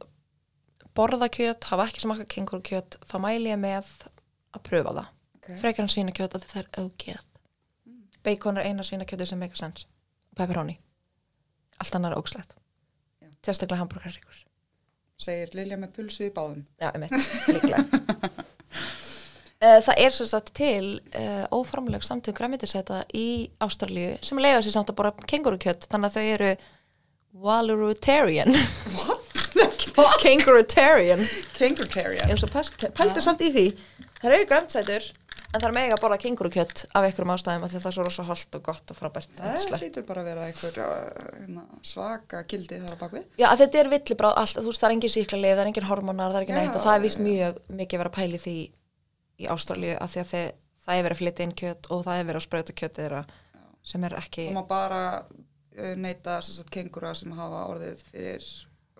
Speaker 2: borða kjött, hafa ekki smakka kengur og kjött þá mæli ég með að pröfa það
Speaker 3: Ok.
Speaker 2: frekar en sína kjött að það er ógeð bacon er eina sína kjötti sem make sense pepperoni allt annar er ógslegt
Speaker 3: Já.
Speaker 2: sérstaklega hambúrgarríkur
Speaker 3: Segir Lilja með pulsu í báðum.
Speaker 2: Já, einmitt, líklega. Eh, Það er sem sagt til uh, óformleg samtug græmitisæta í Ástralíu sem leiða sér samt að bora kengurukjött þannig að þau eru Walrutarian
Speaker 3: What the
Speaker 2: Kangarootarian
Speaker 3: Kangaroo
Speaker 2: eins og pest- pældu samt í því það eru græntsætur en það er mega borða kengurukjött af einhverjum ástæðum af því að það er svo rosa holdt og gott og frábært
Speaker 3: Það
Speaker 2: æðislegt.
Speaker 3: hlýtur bara að vera einhver uh, hérna, svaka gildi þar á bakvið.
Speaker 2: Já, að þetta er villibráð allt, þú veist, það er engin síklarleif, það er engin hormonar, það er ekki
Speaker 3: Já,
Speaker 2: neitt og það er vist mjög mikið verið að pæli því í Ástralíu af því að þið, það er verið að flytja inn kjött og það er verið að sprauta kjött þeirra sem er ekki,
Speaker 3: Það má bara uh, neyta sem sagt, kengura sem hafa orðið fyrir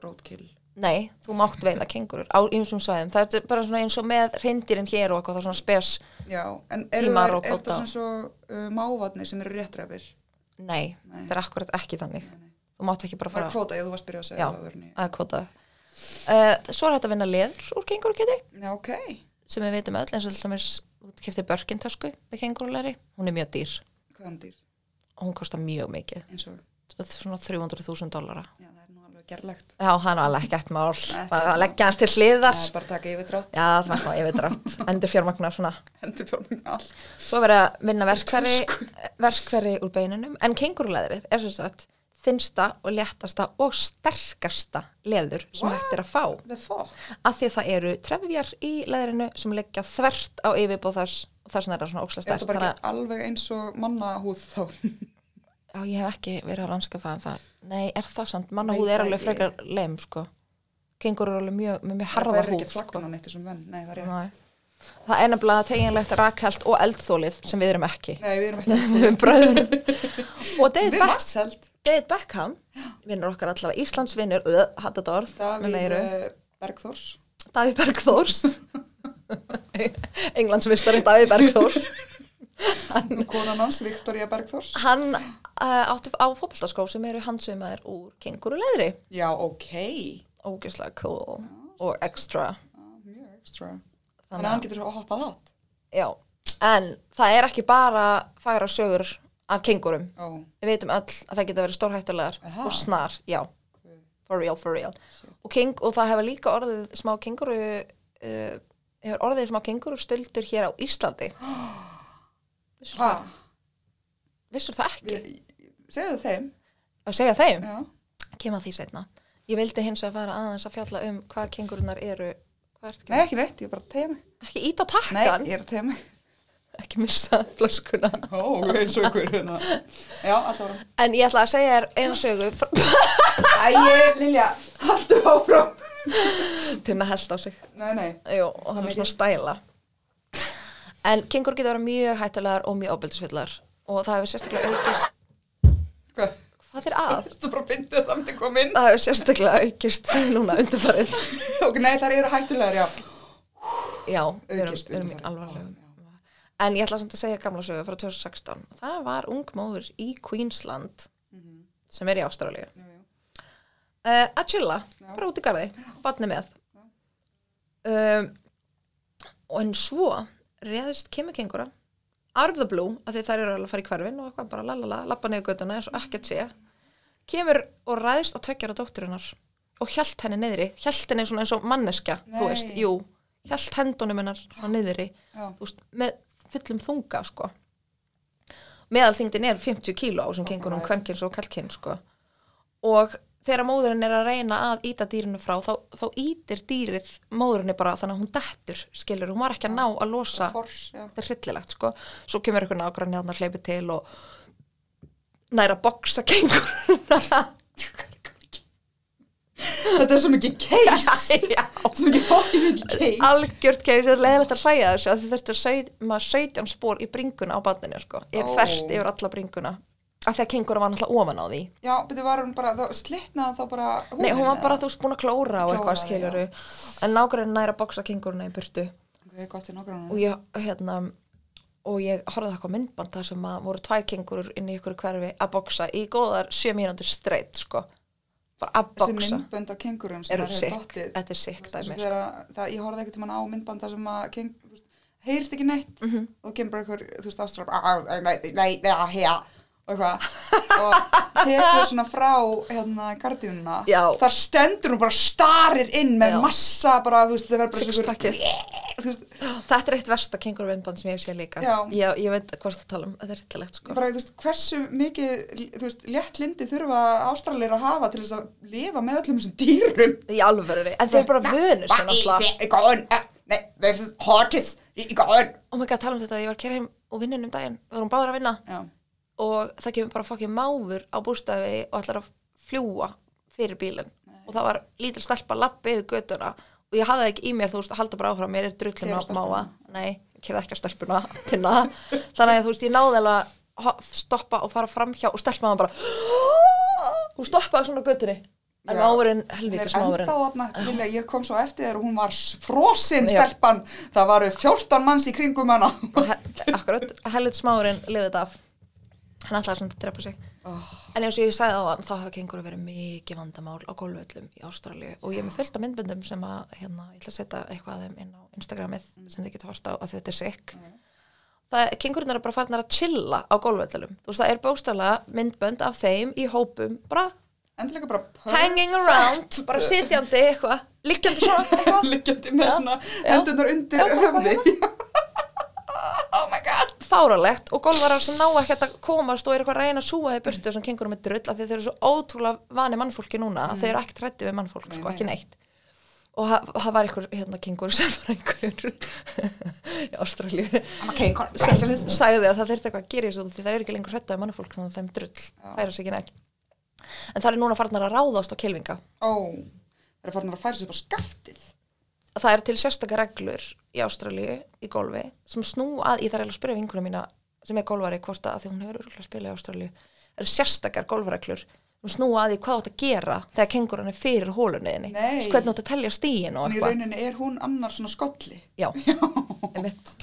Speaker 3: roadkill.
Speaker 2: nei, þú mátt veiða kengurur á ýmsum svæðum, það er bara svona eins og með reyndirinn hér og eitthvað, það er svona spes,
Speaker 3: Já, en eru
Speaker 2: Tímar
Speaker 3: þær-
Speaker 2: og
Speaker 3: er þetta
Speaker 2: kvóta.
Speaker 3: sem svo uh, mávatni sem eru réttræfir?
Speaker 2: nei,
Speaker 3: Nei.
Speaker 2: það er akkurat ekki þannig, þú mátt ekki bara
Speaker 3: Það
Speaker 2: fara
Speaker 3: er kvóta, ég þú varst byrjað að segja
Speaker 2: Já,
Speaker 3: það. áður en ég-
Speaker 2: að kvota uh, Svo er hægt að vinna leður úr kengurukjöti
Speaker 3: Já, ok.
Speaker 2: sem við veitum öll eins og til dæmis keftir börkin tösku með kengurulæri hún er mjög dýr
Speaker 3: Hvað er hann dýr?
Speaker 2: og hún kostar mjög mikið
Speaker 3: Eins og,
Speaker 2: Svo- svona 300.000 dollara
Speaker 3: já, það er nú alveg gerlegt.
Speaker 2: Já, hann er alveg ekkert mál
Speaker 3: Ekkert
Speaker 2: bara
Speaker 3: mál.
Speaker 2: að leggja hans til hliðar
Speaker 3: Það er bara að taka yfir drátt,
Speaker 2: Já, það var svona yfirdrátt, endur fjármagnar svona
Speaker 3: hendur fjórmugn all.
Speaker 2: Svo er verið að vinna verkveri, verkveri úr beinunum en kengurulæðrið er sem sagt þinnsta og léttasta og sterkasta leður sem hægt er að fá
Speaker 3: The fuck?
Speaker 2: að því að það eru trefjar í leðrinu sem leggja þvert á yfirbóð þess og þess vegna er það svona ókslega
Speaker 3: Er þetta
Speaker 2: stærst
Speaker 3: bara
Speaker 2: þannig að
Speaker 3: ekki alveg eins og mannahúð þá?
Speaker 2: já, ég hef ekki verið að rannsaka það en það nei, er það samt,
Speaker 3: Veit
Speaker 2: mannahúð er
Speaker 3: það
Speaker 2: alveg
Speaker 3: ekki.
Speaker 2: frekar leim sko, kengur eru alveg mjög með mjög
Speaker 3: það
Speaker 2: harða
Speaker 3: er
Speaker 2: húð
Speaker 3: ekki
Speaker 2: sko.
Speaker 3: flaggan á neitt þessum venn. Nei, það er rétt.
Speaker 2: Nei. það er nefnilega teginlegt rakhælt og eldþólið sem við erum ekki
Speaker 3: Nei, við erum ekki.
Speaker 2: við erum bröðunum og David,
Speaker 3: Við erum
Speaker 2: Beck,
Speaker 3: aðselt.
Speaker 2: David Beckham vinnur okkar allavega, Íslands vinnur uh, Hattadorð, með
Speaker 3: Davíð
Speaker 2: meiru
Speaker 3: eh, Bergþórs.
Speaker 2: Davíð Bergþórs Englandsmistari Davíð Bergþórs
Speaker 3: Og konan hans, Viktoria Bergþórs.
Speaker 2: hann uh, átti á fótboltaskó sem eru handsumaðir úr kenguruleðri
Speaker 3: Já, ok.
Speaker 2: ógeðslega cool og extra
Speaker 3: Já, Mjög ekstra. Þannig
Speaker 2: Þannig
Speaker 3: að
Speaker 2: að-
Speaker 3: hann getur hoppað átt.
Speaker 2: já, en það er ekki bara fagra sögur af kengurum
Speaker 3: Ó,
Speaker 2: við veitum öll að það geta verið stórhættulegar
Speaker 3: Aha.
Speaker 2: og snar, já,
Speaker 3: guð.
Speaker 2: for real, for real og, keng, og það hefur líka orðið smá kenguru uh, hefur orðið smá kenguru stöldur hér á Íslandi vissur,
Speaker 3: Hva?
Speaker 2: vissur það ekki
Speaker 3: Við- Segðu þeim.
Speaker 2: að segja þeim
Speaker 3: Já.
Speaker 2: kem að því setna. Ég vildi hins vegar fara aðeins að fjalla um hvað kengurunar eru hvað ert
Speaker 3: Nei,
Speaker 2: ekki,
Speaker 3: ekki neitt, ég er bara að tegja mig.
Speaker 2: ekki ít á
Speaker 3: Nei,
Speaker 2: takkan
Speaker 3: ég er að tegja mig.
Speaker 2: ekki missa flöskuna
Speaker 3: Ó, eins og ykkur hérna. Já, alltaf varum.
Speaker 2: en ég ætla að segja þér einu sögu frá-
Speaker 3: Æ, Lilja, haldu áfram.
Speaker 2: Tinna held á sig
Speaker 3: Nei, nei.
Speaker 2: Jú, og það var
Speaker 3: mikið.
Speaker 2: svona stæla en kengur geta verið mjög hættulegar og mjög ábyldisvillar og það hefur sérstaklega aukist
Speaker 3: Hvað?
Speaker 2: hvað er að?
Speaker 3: Þú bara bindið það myndi koma inn.
Speaker 2: það hefur sérstaklega aukist núna undarfarið
Speaker 3: Ok, nei, þar eru hættulegar, já.
Speaker 2: já, við erum,
Speaker 3: Aukist
Speaker 2: við erum í
Speaker 3: undanfarið.
Speaker 2: alvarlegum en ég ætla samt að segja gamla sögu frá 2016 það var ung móður í Queensland
Speaker 3: Mhm.
Speaker 2: sem er í Ástralíu
Speaker 3: Jú, jú.
Speaker 2: uh, að chilla,
Speaker 3: Já.
Speaker 2: bara út í garði vatni með um, og en svo réðist kemur kengura out of the blue, af því þær eru alveg að fara í hverfin og eitthvað bara lalala, lappa niður göttuna eins og ekkert sé kemur og ræðist að tökjara dótturinnar og hjælt henni niðri hjælt henni svona eins og manneskja þú
Speaker 3: Nei.
Speaker 2: veist, jú, hjælt hendunum hennar svona niðri,
Speaker 3: Já.
Speaker 2: þú veist, með fullum þunga sko meðalþyngdin er 50 kíló á sem kengur um kvenkins og kalkins sko og þegar móðurinn er að reyna að íta dýrinu frá þá, þá ítir dýrið móðurinni bara þannig að hún dettur skilur, hún var ekki að ná að losa
Speaker 3: Tors, já.
Speaker 2: þetta er hryllilegt sko svo kemur eitthvað nágrann hérna hleypi til og næra boksa kengur
Speaker 3: Þetta er svo mikið case.
Speaker 2: Já.
Speaker 3: Þetta er svo mikið fokkin mikið case.
Speaker 2: algjört keis, þetta er leðilegt að hlæja að þessu að þið þurftu að saut, maður 17 spór í bringuna á bandinu sko, ég
Speaker 3: Ó.
Speaker 2: oh. fært yfir alla bringuna af því að kengur var náttúrulega ofan á því
Speaker 3: Já, betur var hún bara, þá slitnaði þá bara húðin.
Speaker 2: Nei, hún var
Speaker 3: eða?
Speaker 2: bara þú veist búin að klóra og eitthvað
Speaker 3: Klóra,
Speaker 2: skiljuru en nágrann næra boksa kenguruna í burtu
Speaker 3: Ok, gott í nokkrum.
Speaker 2: og ég, hérna, og ég horfði eitthvað á myndband þar sem að voru tvær kengurur inn í ykkur hverfi að boksa í góðar sjö mínútur streitt, sko. Bara að
Speaker 3: Þessi
Speaker 2: boksa.
Speaker 3: myndbönd á kengurum sem
Speaker 2: Eru
Speaker 3: þær hefur
Speaker 2: sikk,
Speaker 3: dottið.
Speaker 2: þetta er sikk dæmið.
Speaker 3: Þegar að- það, ég horfði ekkert um hann á myndband þar sem að
Speaker 2: Mhm.
Speaker 3: keng, "Ah, þú veist, heyrist ekki neitt. Mm -hmm. Og þú kemur bara einhver, þú veist, ástrar, nei, nei, nei, nei, nei, og eitthvað og tekur svona frá hérna gardínuna
Speaker 2: Já.
Speaker 3: þar stendur hún bara starir inn með
Speaker 2: Já.
Speaker 3: massa bara, þú veist, það verður bara svo einhver-
Speaker 2: Sixpackið.
Speaker 3: þú veist,
Speaker 2: Þetta er eitt versta kengurvinnband sem ég sé líka
Speaker 3: Já.
Speaker 2: ég, ég veit hvað það tala um, þetta er rillalegt sko
Speaker 3: bara, þú veist, hversu mikið þú veist, létt lindi þurfa ástralir að hafa til þess að lifa með öllum þessum dýrum
Speaker 2: Í alvörunni, en þeir eru bara vönu
Speaker 3: Hvað
Speaker 2: svona
Speaker 3: er
Speaker 2: alltaf
Speaker 3: þið? Góðan, eh, Nei, þessi hortis Góðan
Speaker 2: Oh my god, tala um þetta, ég var að kera heim og vinnun um daginn Við vorum báðar að vinna
Speaker 3: Já,
Speaker 2: og það kemur bara fokkið máfur á bústæði og ætlar að fljúa fyrir bílinn og það var lítil stelpa lappi yfir götuna og ég hafði ekki í mér, þú veist, að halda bara áfram mér er drullin
Speaker 3: Keyra á
Speaker 2: að máa, nei, ég kerði ekki á stelpuna tinna, þannig að þú veist, ég náði alveg að ho- stoppa og fara framhjá og stelpaði hann bara hún stoppaði svona á götunni en
Speaker 3: Já.
Speaker 2: máfurinn,
Speaker 3: Hún er
Speaker 2: helvítis
Speaker 3: ennþá
Speaker 2: máfurinn
Speaker 3: aðna, Lilja, ég kom svo eftir þér og hún var frosin
Speaker 2: Já.
Speaker 3: stelpan Það varu 14 manns í kringum hana
Speaker 2: He- akkurat, helvítis máfurinn lifið þetta af hann ætlaði svona að drepa sig En eins og ég sagði á hann, þá hafa kenguru verið mikið vandamál á golföllum í Ástralju og ég er með fullt af myndböndum sem að, hérna, ég ætla að setja eitthvað af þeim inn á Instagramið sem þið getur hort á að þetta er sick. Það er, kengurinn eru bara farnar að chilla á golföllum. Þú veist, það er bókstaflega myndbönd af þeim í hópum, bara
Speaker 3: Endilega bara
Speaker 2: hanging around, bara sitjandi eitthvað, liggjandi svona eitthvað.
Speaker 3: Liggjandi með
Speaker 2: Já,
Speaker 3: svona
Speaker 2: já.
Speaker 3: hendurnar
Speaker 2: Já,
Speaker 3: undir
Speaker 2: bara
Speaker 3: höfði Oh my god
Speaker 2: fáralegt og golfarar sem ná ekkert að komast og er eitthvað að reyna að súa þeir burtu þessum kengurum með drull af því þeir eru svo ótrúlega vani mannfólki núna að þeir eru ekkert hrætti við mannfólk,
Speaker 3: Nei,
Speaker 2: sko,
Speaker 3: nei.
Speaker 2: ekki neitt og það- það var einhver, hérna, kengur sem var einhver í Ástralíu
Speaker 3: I'm a king corn
Speaker 2: sem
Speaker 3: specialist
Speaker 2: sagði að það þurfti eitthvað að gera í þessu því það er ekki lengur hrætti við mannfólk þannig að þeim drull færa sig ekki neitt en það er núna farnar að ráðast á kelvinga
Speaker 3: Ó, það er farin að færa sig upp á skaftið
Speaker 2: það eru til sérstakar reglur í Ástralíu í golfi sem snú að, ég þarf eiginlega að spyrja vinkunum mína sem er golfari hvort að af því hún hefur örgulega að spila í Ástralíu það eru sérstakar golfreglur sem snú að því hvað þú átt að gera þegar kengurinn er fyrir hólunniðinni
Speaker 3: Nei.
Speaker 2: hvernig þú átt að telja stíin og
Speaker 3: En í
Speaker 2: eitthvað
Speaker 3: rauninni er hún annar svona skolli
Speaker 2: já, einmitt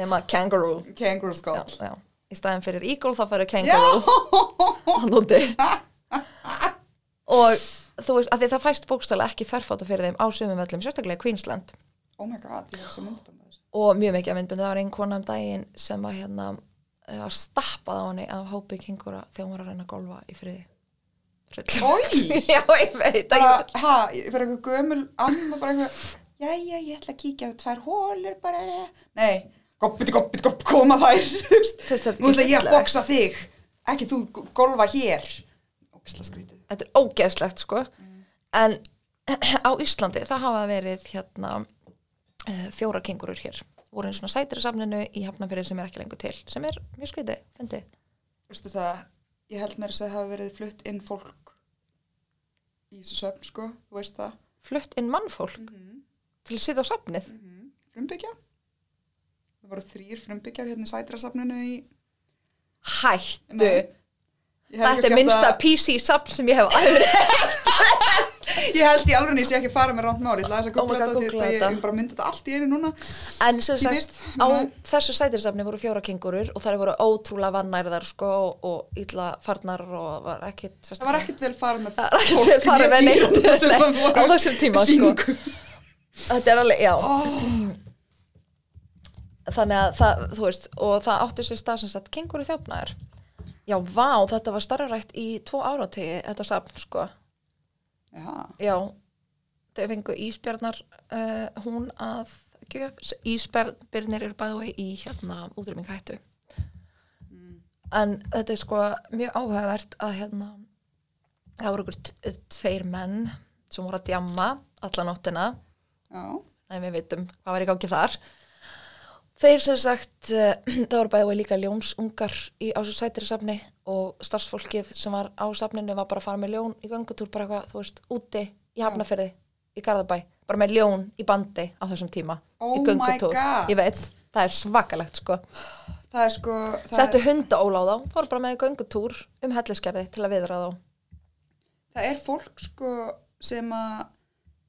Speaker 2: nema kangaroo
Speaker 3: Kangaroo skoll
Speaker 2: já, já. í staðin fyrir eagle þá fyrir
Speaker 3: Já,
Speaker 2: kangaroo hann úti og þú veist, af því það fæst bókstæla ekki þverfáta fyrir þeim á sömum öllum, sérstaklega í Queensland
Speaker 3: Oh my god, ég er svo myndbænd þessu
Speaker 2: og mjög mikið að myndböndu, það var einn kona um daginn sem var hérna eh, var stappað á henni af hópi kengura þegar hún var að reyna að golfa í friði
Speaker 3: Oj!
Speaker 2: Já, ég veit
Speaker 3: bara,
Speaker 2: ekki
Speaker 3: hæ, fyrir eitthvað gömul amma bara eitthvað, jæja, ég ætla að kíkja á tvær hólur bara, nei goppiti, goppiti, gopp, koma þær þú veist.
Speaker 2: Finnst þetta
Speaker 3: nú ætla ég að
Speaker 2: hryllilegt?
Speaker 3: boksa þig ekki þú g- golfa hér ógisla skrítið
Speaker 2: Þetta er ógeðslegt sko en á Íslandi það hafa verið hérna eh, fjóra kengurur hér voru einn svona sætir í safninu í hafnafyrir sem er ekki lengur til sem er mjög skrítið, fyndið
Speaker 3: veistu það, ég held mér að það hafa verið flutt inn fólk í þessu söfn, sko, þú veist það
Speaker 2: flutt inn mannfólk
Speaker 3: Mhm.
Speaker 2: til að sitja á safnið
Speaker 3: frumbyggja það voru þrýr frumbyggjar hérna í sætrasafninu í
Speaker 2: Hættu,
Speaker 3: Nei. Ég hefði
Speaker 2: þetta er
Speaker 3: kannski átt
Speaker 2: minnsta
Speaker 3: að-
Speaker 2: PC-safn sem ég hef aðeins
Speaker 3: Ég held í alveg ég sé ekki að fara með rámt máli, ég ætla aðeins að
Speaker 2: Oh my
Speaker 3: googla
Speaker 2: God,
Speaker 3: þetta því
Speaker 2: googla
Speaker 3: að ég
Speaker 2: þetta.
Speaker 3: ég bara myndi þetta allt í einu núna.
Speaker 2: En sem
Speaker 3: Ég
Speaker 2: sagt,
Speaker 3: veist,
Speaker 2: á
Speaker 3: núna-
Speaker 2: þessu sætinsafni voru fjóra kengurur og þær voru ótrúlega vannærðar sko og illa farnar og var ekkit
Speaker 3: Það var ekkert vel farið með
Speaker 2: Það var ekkert vel farið með neitt. Nei, á þessum tíma, sko. Þetta er alveg, já Þannig að það, þú veist, og það átti sér stað sem sagt kenguru þjófnaðir Já, vá, þetta var starfrætt í tvo áratögi, þetta safn sko
Speaker 3: Já,
Speaker 2: Já, þau fengu ísbjarnar uh, hún að gjöf, ísbjarnir eru bæðu í hérna útrýmingahættu en þetta er sko mjög áhugavert að hérna það voru ykkur t- tveir menn sem voru að djamma alla nóttina
Speaker 3: já,
Speaker 2: Nei, við veitum hvað var í gangi þar. Þeir sem sagt, uh, það voru bæðið líka ljónsungar í, á svo sætri safni og starfsfólkið sem var á safninu var bara að fara með ljón í göngutúr, bara eitthvað, þú veist, úti í hafnaferði, í Garðabæ, bara með ljón í bandi á þessum tíma,
Speaker 3: Oh
Speaker 2: í
Speaker 3: my
Speaker 2: göngutúr.
Speaker 3: God.
Speaker 2: Ég veit, það er svakalegt, sko.
Speaker 3: það er sko, það,
Speaker 2: Settu
Speaker 3: er,
Speaker 2: hundaóla á þá, fóru bara með í göngutúr um helliskerði til að viðra þá.
Speaker 3: það er fólk sko sem að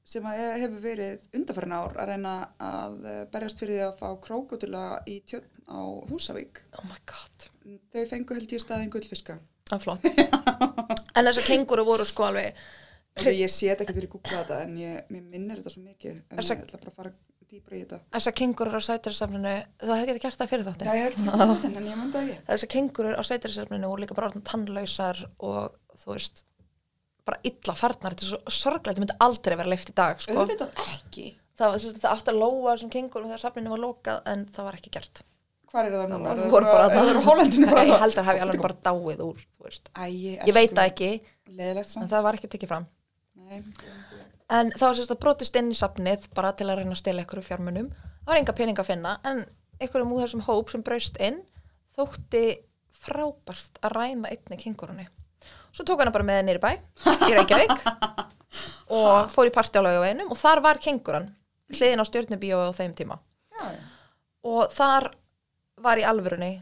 Speaker 3: sem að e, hefur verið undanfærin ár að reyna að eh, berjast fyrir því að fá krókutula í tjörn á Húsavík.
Speaker 2: Oh my god.
Speaker 3: Þau fengu held ég staðin gullfiska.
Speaker 2: Það er flott. en þessar kenguru voru sko alveg
Speaker 3: Okay, ég sé þetta ekki fyrir að googla þetta en ég, mér minnir þetta svo mikið en
Speaker 2: Þessa-
Speaker 3: ég ætla bara að fara að dýbra í þetta
Speaker 2: Þessar kengurur á sætirasafninu, þú hefði getið gert það fyrir þáttin.
Speaker 3: Já, ég hef ekki þetta, en ég myndi að ég
Speaker 2: Þessar kengurur á sætirasafninu voru líka bara orðnar tannlausar og þú veist, bara illa farnar. Þetta er svo sorglega, þetta myndi aldrei vera leift í dag, sko.
Speaker 3: Auðvitað ekki
Speaker 2: Það, var, sem sagt, það átti að lóa þessum kengurum þegar safninu var lokað en það var ekki gert.
Speaker 3: Hvar eru það núna?
Speaker 2: Það
Speaker 3: Eru
Speaker 2: voru bara
Speaker 3: eru þær á hálendinu bara
Speaker 2: Nei, Ég held að hafi alveg bara dáið úr, þú veist.
Speaker 3: Æ,
Speaker 2: Ég veit það ekki, en
Speaker 3: Leðilegt samt
Speaker 2: það var ekki tekið fram.
Speaker 3: Nei.
Speaker 2: En það var sérst að brotist inn í safnið bara til að reyna að stela ykkur fjármunum. Það var enga pening að finna, en einhverjum úr þessum hóp sem braust inn þótti frábært að ræna einni kengurunni. Svo tók hana bara með henni í bæ, í Reykjavík, og fór í partí á laugaveginum og þar var kenguran, hliðin á stjórnubíói á þeim tíma.
Speaker 3: Já, já.
Speaker 2: Og þar var í alvörunni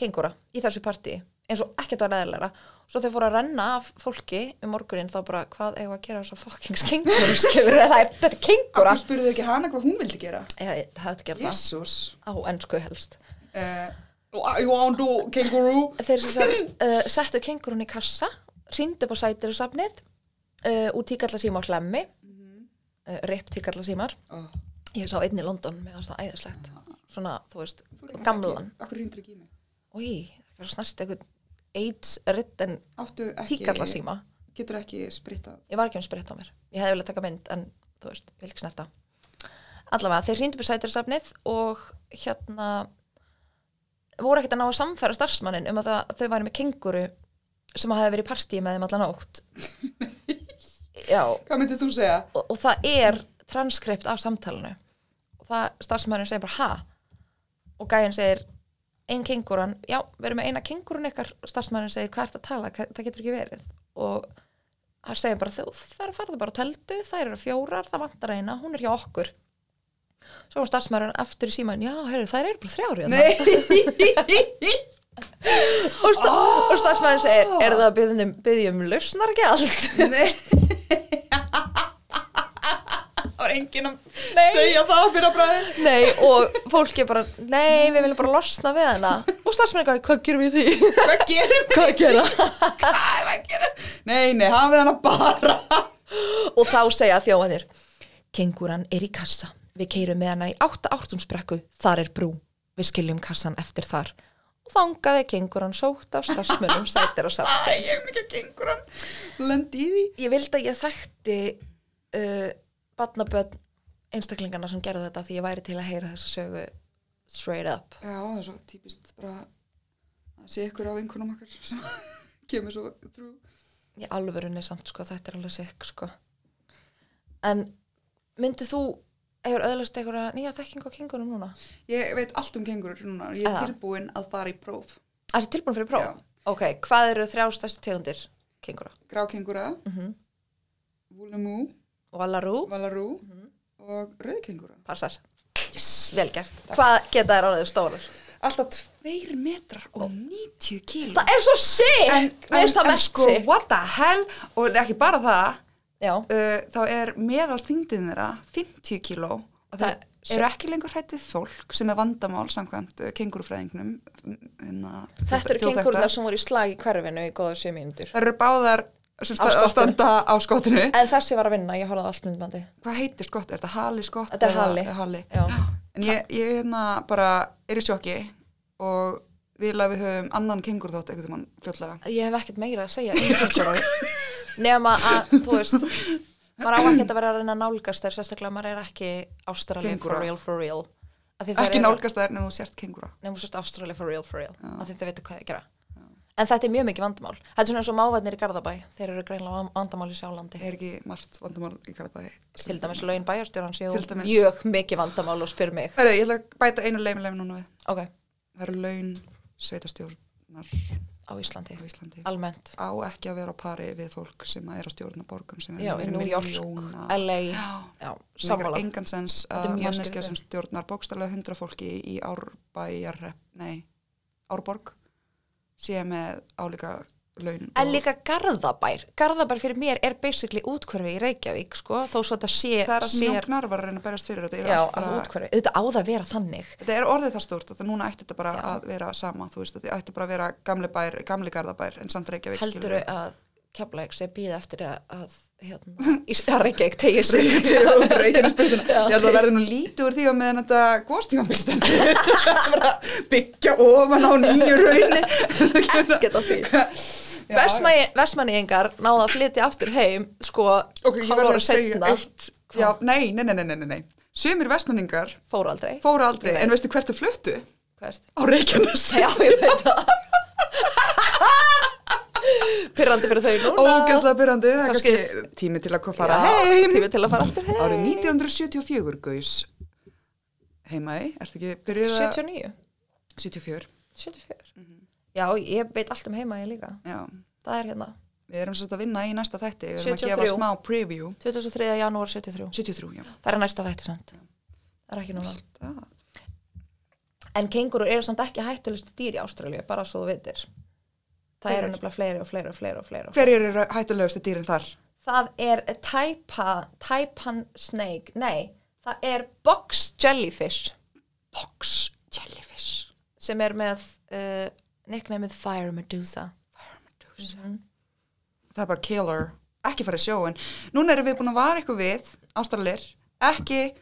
Speaker 2: kengura í þessu partíi eins og ekkert var neðilega svo þau fóru að renna af fólki um morgunin þá bara hvað eigum við að gera þess að fucking kengur skilur það er þetta er
Speaker 3: Af
Speaker 2: kengura
Speaker 3: hverju spurðu ekki hana hvað hún vildi gera?
Speaker 2: eða það hefði gert það
Speaker 3: Jésús
Speaker 2: á ennsku helst
Speaker 3: uh, You want to kangaroo?
Speaker 2: þeir sem sagt uh, settu kengurun í kassa rindu upp á sætir í safnið uh, út tíkalla síma á hlemmi mm
Speaker 3: Mhm.
Speaker 2: -hmm. uh, rip tíkalla símar
Speaker 3: Oh.
Speaker 2: ég sá einn í London með það æðislegt
Speaker 3: Ah.
Speaker 2: svona þú veist gamlan
Speaker 3: Akkur hundur ekki í mig
Speaker 2: Í, það var snart eitthvað AIDS-ritten
Speaker 3: Áttu ekki
Speaker 2: tíkalla síma.
Speaker 3: Getur ekki sprittað
Speaker 2: Ég var ekki með spritt á mér. Ég hefði viljað taka mynd en þú veist, ég vil ekki snerta. Allavega, þeir hrýndu upp í sætirasafnið og hérna voru ekkert að ná að samfæra starfsmannin um að það, þau væri með kenguru sem hafi verið í partíi með þeim allan ótt. Já, og,
Speaker 3: Hvað myndið þú segja?
Speaker 2: og það er transkript af samtalinu. Og það starfsmannin segir bara ha og gæinn segir ein kenguran, já, við erum með eina kengurun ykkar starfsmannin segir, hvað ert að tala, Hva- það getur ekki verið og það segir bara, þú fer- farðu bara á teldu þær eru fjórar, það vantar eina, hún er hjá okkur svo kom starfsmannin aftur í síman, já, heyrðu, þær eru bara hérna." þrjári og, sta og starfsmannin segir er það að byggja um, byggja um lausnargjald
Speaker 3: Nei Það var enginn að segja það fyrir að bræði
Speaker 2: nei, og fólk er bara nei, við viljum bara losna við hana og starfsmannin gæði, hvað gerum við í því
Speaker 3: Hvað gerum við?
Speaker 2: hvað gera
Speaker 3: Hvað er að gera? Nei, nei, hafið hana bara
Speaker 2: og þá segja þjóðanir Kenguran er í kassa Við keirum með hana í átta ártumsbrekku Þar er brú, við skiljum kassan eftir þar og þangaði kenguran sótt af starfsmönnum sætir að sátt
Speaker 3: Æ, ég hef mikið gengur hann Lendi í því
Speaker 2: Ég vildi að ég þekkti uh, barnabönn einstaklingarna sem gerðu þetta því ég væri til að heyra þessa sögu straight up
Speaker 3: Já, það er svo típist bara að sé ykkur á vinkunum okkar sem kemur svo trú
Speaker 2: í alvörunni samt sko, þetta er alveg sikk sko en myndið þú hefur öðlust einhverja nýja þekking á kengurum núna?
Speaker 3: Ég veit allt um kengurur núna og ég er
Speaker 2: Eða?
Speaker 3: tilbúin að fara í próf
Speaker 2: Það er tilbúin fyrir próf?
Speaker 3: Já.
Speaker 2: Ok, hvað eru þrjá stærstu tegundir kengura?
Speaker 3: Grákengura mm
Speaker 2: Mhm.
Speaker 3: -hmm. Vúlumú,
Speaker 2: Valarú,
Speaker 3: Valarú
Speaker 2: Mhm.
Speaker 3: og Rauðkengura
Speaker 2: passar. Yes. Vel gert. Hvað geta þær orðið stórar?
Speaker 3: Alltaf 2 metrar og 90 kíl
Speaker 2: Það er svo sick!
Speaker 3: En,
Speaker 2: Mér finnst það
Speaker 3: en
Speaker 2: mest
Speaker 3: sko,
Speaker 2: sick.
Speaker 3: what the hell og ekki bara það
Speaker 2: Já,
Speaker 3: uh, þá er meðal þyngdin þeirra 50 kíló og
Speaker 2: Það
Speaker 3: það
Speaker 2: er
Speaker 3: eru ekki lengur hrætt við fólk sem er vandamál samkvæmt uh, kengurufræðingnum hérna,
Speaker 2: þetta eru
Speaker 3: þjóðþekkta.
Speaker 2: kengur það sem voru í slag í hverfinu í góða sjö mínútur.
Speaker 3: Þær eru báðar sem sta,
Speaker 2: Á skottinu.
Speaker 3: að standa á skottinu
Speaker 2: En þessi var að vinna, ég horfði á allt myndbandi.
Speaker 3: hvað heitir skott, er þetta hali skott?
Speaker 2: Þetta er
Speaker 3: eða-
Speaker 2: hali.
Speaker 3: eða hali.
Speaker 2: Já.
Speaker 3: en ég, ég hérna bara er í sjokki og vil að við höfum annan kengur þátt einhvern veginn fljótlega
Speaker 2: Ég hef ekkert meira að segja um kenguru. Nefna að, þú veist, maður á ekkert að vera að reyna að nálgast þær, sérstaklega ef maður er ekki ástralið for
Speaker 3: Kengúra.
Speaker 2: real, for real. Af því þær
Speaker 3: ekki
Speaker 2: eru-
Speaker 3: nálgast þær nema þú sért kengura
Speaker 2: nefnum sérst Ástralja for real for real af því þau veitu hvað þau gera en þetta er mjög mikið vandamál þetta er svona eins og mávarnir í Garðabæ þeir eru greinlega van- vandamál í sjálflandi
Speaker 3: er ekki margt vandamál í Garðabæi
Speaker 2: til dæmis laun bæjarstjórans jú,
Speaker 3: Til dæmis.
Speaker 2: mjög mikið vandamál og spyr mig
Speaker 3: Herru, ég ætla að bæta einu leimilegum núna við
Speaker 2: ok,
Speaker 3: Það eru laun sveitastjórnar
Speaker 2: á Íslandi,
Speaker 3: á Íslandi.
Speaker 2: almennt
Speaker 3: Á ekki að vera á pari við fólk sem að er að stjórna borgum sem
Speaker 2: já,
Speaker 3: er
Speaker 2: í New York, LA já,
Speaker 3: Sammála.
Speaker 2: sammála
Speaker 3: Engan sens
Speaker 2: Þetta
Speaker 3: að
Speaker 2: er mjög
Speaker 3: manneskja
Speaker 2: skrítið.
Speaker 3: sem stjórnar bókstælega hundra fólki í árbæjar, nei, árborg sé með álíka laun.
Speaker 2: En
Speaker 3: og-
Speaker 2: líka Garðabær, Garðabær fyrir mér er basically útkverfi í Reykjavík, sko, þó svo þetta sé,
Speaker 3: það er að
Speaker 2: sé
Speaker 3: mjóknar var að reyna að berjast fyrir þetta. Ég er
Speaker 2: já,
Speaker 3: allt
Speaker 2: að
Speaker 3: bara-
Speaker 2: útkverfi, auðvitað á það að vera þannig.
Speaker 3: Þetta er orðið það stórt og það núna ætti þetta bara að vera sama, þú veist, þetta ætti bara að vera gamli bær, gamli garðabær en samt Reykjavík skilur
Speaker 2: heldur
Speaker 3: við.
Speaker 2: að keflæk sem býða eftir að, að hérna, í Reykjavík tegir sig Já.
Speaker 3: Ég held að verði nú lítið úr því að meðan þetta góðstífambilstendi bara byggja ofan á nýju raunni
Speaker 2: Ekkert að því. Vestmanningar náða að flytja aftur heim sko
Speaker 3: Ok, ég verði
Speaker 2: hálfári
Speaker 3: að segja
Speaker 2: seinna.
Speaker 3: eitt já, nei, nei, nei, nei, nei, nei, nei Sumir vestmanningar
Speaker 2: fóru aldrei
Speaker 3: fóru aldrei
Speaker 2: Nei.
Speaker 3: En veistu hvert þau fluttu?
Speaker 2: Hvert?
Speaker 3: Á Reykjanes
Speaker 2: Já, ég veit það Pirrandi fyrir þau núna
Speaker 3: Ógæslega byrjandi, það er
Speaker 2: Kannski-
Speaker 3: kannski tími til að
Speaker 2: Já,
Speaker 3: fara heim
Speaker 2: Tími til að fara aftur heim
Speaker 3: Árið 1974 gaus heimaði, ertu ekki byrjuð að
Speaker 2: 79
Speaker 3: 74
Speaker 2: 74
Speaker 3: Mhm.
Speaker 2: Já, ég veit allt um heima ég líka
Speaker 3: Já,
Speaker 2: Það er hérna
Speaker 3: við erum svolítið að vinna í næsta þætti Við erum að gefa
Speaker 2: 73.
Speaker 3: smá preview
Speaker 2: 23. janúar 73
Speaker 3: 73, já
Speaker 2: Það er næsta þætti samt Það er ekki núna
Speaker 3: Það,
Speaker 2: En kengurur eru samt ekki hættulegst dýr í Ástralíu bara svo þú vitir Það eru nefnilega fleiri og fleiri og fleiri og fleiri og
Speaker 3: Hverjir eru hættulegustu dýrin þar?
Speaker 2: Það er tæpa, tæpan snake, nei, það er box jellyfish
Speaker 3: Box jellyfish
Speaker 2: sem er með uh, nicknameð Fire Medusa.
Speaker 3: Medusa Það er bara killer Ekki fara í sjóin Núna erum við búin að vara ykkur við Ástralir Ekki